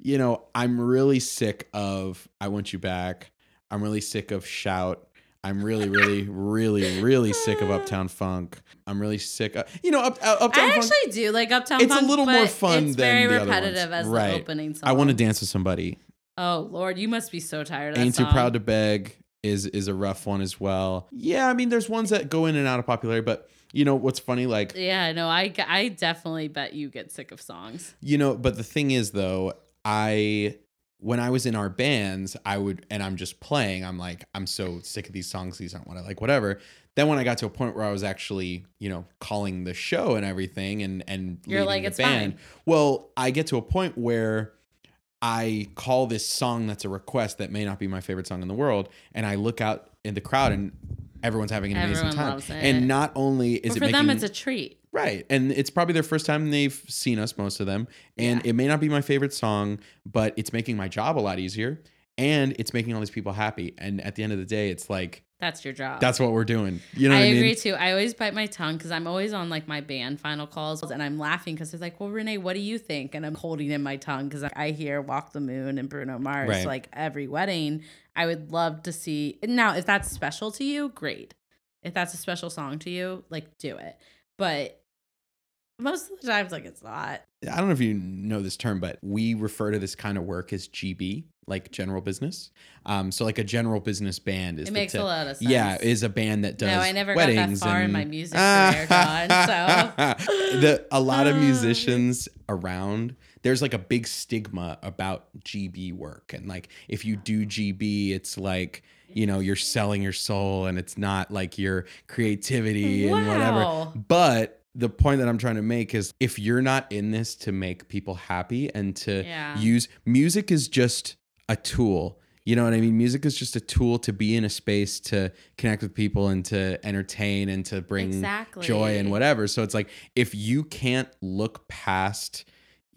you know, I'm really sick of I Want You Back. I'm really sick of Shout. I'm really, really, really, really sick of Uptown Funk. I'm I'm really sick of, you know, up, Up- Uptown I Funk. actually do like Uptown. It's a Funk, little more but fun It's than very the other repetitive as ones. Right. the opening song. I want to dance with somebody. Oh Lord, you must be so tired. Of that Ain't song. Too Proud to Beg is is a rough one as well. Yeah, I mean, there's ones that go in and out of popularity, but you know what's funny? Like, Yeah, no, I g- I definitely bet you get sick of songs. You know, but the thing is though, I when I was in our bands, I would and I'm just playing, I'm like, I'm so sick of these songs, these aren't what I like, whatever. Then when I got to a point where I was actually, you know, calling the show and everything and and You're leading like, the "It's band. Well, I get to a point where I call this song that's a request that may not be my favorite song in the world, and I look out in the crowd and everyone's having an amazing Everyone time. loves it. And not only is But it for making, them, it's a treat. Right. And it's probably their first time they've seen us, most of them. And it may not be my favorite song, but it's making my job a lot easier and it's making all these people happy. And at the end of the day, it's like, That's your job. that's what we're doing. You know I what I mean? agree too. I always bite my tongue because I'm always on like my band final calls and I'm laughing because it's like, well, Renee, what do you think? And I'm holding in my tongue because I hear Walk the Moon and Bruno Mars Right. like every wedding. I would love to see. Now, if that's special to you, great. If that's a special song to you, like do it. But most of the times, like it's not. I don't know if you know this term, but we refer to this kind of work as GB, like general business. Um, so like a general business band is It the makes tip- a lot of sense. Yeah, is a band that does. No, I never got that weddings far in and- my music career, John, so- the, a lot of Ah. musicians around, there's like a big stigma about GB work, and like if you do GB, it's like you know you're selling your soul, and it's not like your creativity and whatever. Wow. But the point that I'm trying to make is if you're not in this to make people happy and to Yeah. use music is just a tool. You know what I mean? Music is just a tool to be in a space to connect with people and to entertain and to bring Exactly. joy and whatever. So it's like if you can't look past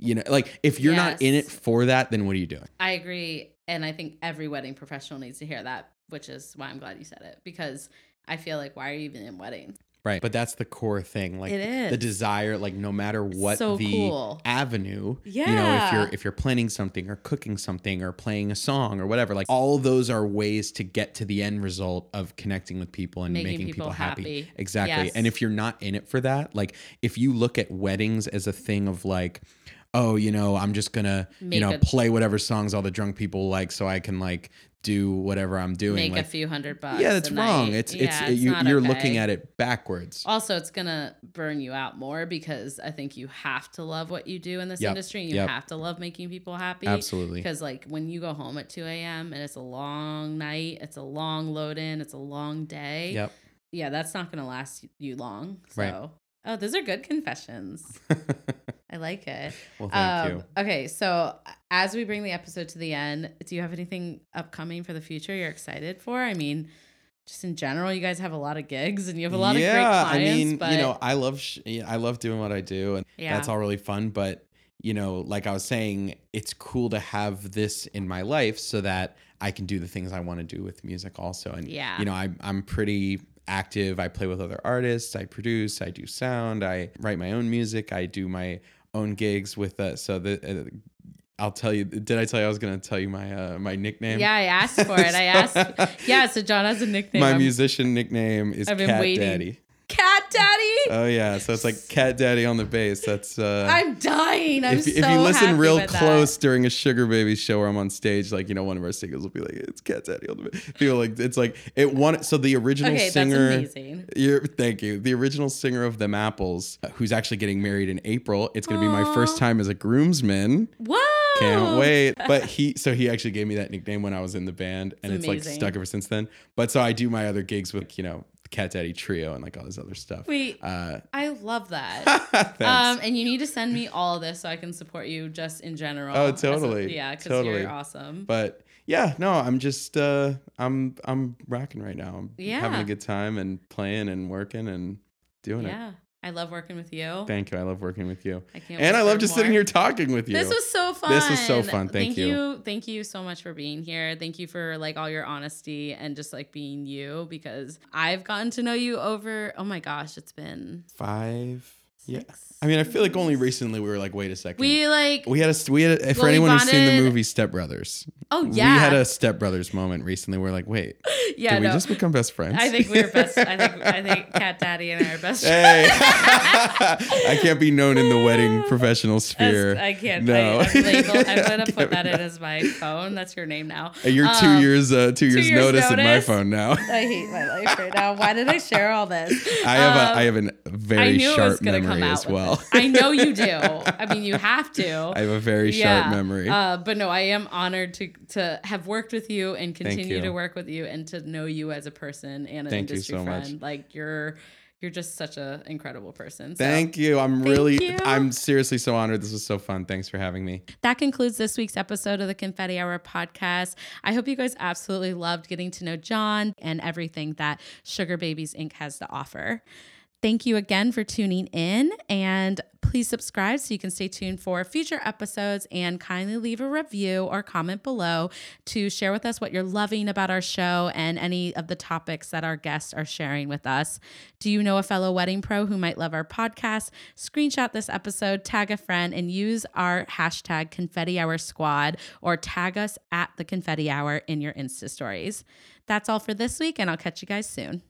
you know, like if you're not in it Yes. for that, then what are you doing? I agree. And I think every wedding professional needs to hear that, which is why I'm glad you said it because I feel like, why are you even in weddings? Right. But that's the core thing. Like It is. the desire, like no matter what So the cool. avenue, you know, if Yeah. you're if you're planning something or cooking something or playing a song or whatever, like all those are ways to get to the end result of connecting with people and making, people, happy. happy. Exactly. Yes. And if you're not in it for that, like if you look at weddings as a thing of like Oh, you know, I'm just gonna, Make you know, a- play whatever songs all the drunk people like, so I can like do whatever I'm doing. Make like, a few hundred bucks. yeah, that's a wrong. night. It's Yeah, it's, you, not you're okay. looking at it backwards. Also, it's going to burn you out more because I think you have to love what you do in this Yep. industry. And you Yep. have to love making people happy. Absolutely. Because, like, when you go home at 2 a.m. and it's a long night, it's a long load in, it's a long day. Yep. Yeah, that's not going to last you long. So, Right. oh, those are good confessions. I like it. well, um, thank you. Okay, so as we bring the episode to the end, do you have anything upcoming for the future you're excited for? I mean, just in general, you guys have a lot of gigs and you have a lot of great clients. I mean, but you know, I love sh- yeah, I love doing what I do, and Yeah. that's all really fun. But you know, like I was saying, it's cool to have this in my life so that I can do the things I want to do with music also. And Yeah. you know, I, I'm pretty active. I play with other artists. I produce. I do sound. I write my own music. I do my own gigs with. Uh, so the. Uh, I'll tell you. Did I tell you I was going to tell you my uh, my nickname? yeah, I asked for it. I asked. Yeah, so John has a nickname. My I'm musician nickname is I've been Cat waiting. Daddy. Cat Daddy. Oh yeah, so it's like Cat Daddy on the bass. That's uh I'm dying. I'm if, so if you listen happy real with that. close during a Sugar Baby show where I'm on stage, like you know, one of our singles will be like, "It's Cat Daddy on the bass." People like it's like it one. So the original Okay, singer. that's amazing. You're, thank you. The original singer of Them Apples, uh, who's actually getting married in April. It's going to be my Aw. first time as a groomsman. Whoa! Can't wait. But he, so he actually gave me that nickname when I was in the band, and It's it's, like amazing. stuck ever since then. But so I do my other gigs with, you know, Cat Daddy Trio and like all this other stuff. Wait, Uh, I love that. thanks. um, and you need to send me all of this so I can support you just in general. Oh, as a- totally. yeah, because Totally. you're awesome. but yeah, no, I'm just, uh, I'm, I'm rocking right now. I'm having Yeah. a good time and playing and working and doing it. yeah, I love working with you. Thank you. I love working with you. I can't And wait I love for just more. sitting here talking with you. This was so fun. This was so fun. Thank you. Thank you so much for being here. Thank you for like all your honesty and just like being you because I've gotten to know you over oh my gosh, it's been five. Yeah. six I mean, I feel like only years. recently we were like, wait a second. we like we had a, we had a, Well, for we anyone who's seen the bonded- movie Step Brothers, oh we yeah had a Step Brothers moment recently. We're like, wait, yeah did no. we just become best friends? I think we were best I think I think Cat Daddy and I are best Hey, friends. I can't be known in the wedding professional That's- sphere. I can't. No. I, I'm, labeled, I'm I gonna put can't- that in as my phone. That's your name now. Hey, You're two Um, years, uh, two, years, years notice, in my notice. phone now. I hate my life right now. Why did I share all this? I have Um, a, I have a very sharp memory as with well. this. I know you do. I mean, you have to. I have a very sharp memory. Uh, but no, I am honored to to have worked with you and continue you. to work with you and to know you as a person and an Thank you industry so much. friend. Like you're you're just such an incredible person. So. Thank you. I'm really, you. I'm seriously so honored. This was so fun. Thanks for having me. that concludes this week's episode of the Confetti Hour podcast. I hope you guys absolutely loved getting to know John and everything that Sugar Babies Inc. has to offer. Thank you again for tuning in and please subscribe so you can stay tuned for future episodes and kindly leave a review or comment below to share with us what you're loving about our show and any of the topics that our guests are sharing with us. Do you know a fellow wedding pro who might love our podcast? Screenshot this episode, tag a friend, and use our hashtag confetti hour squad or tag us at the confetti hour in your Insta stories. That's all for this week, and I'll catch you guys soon.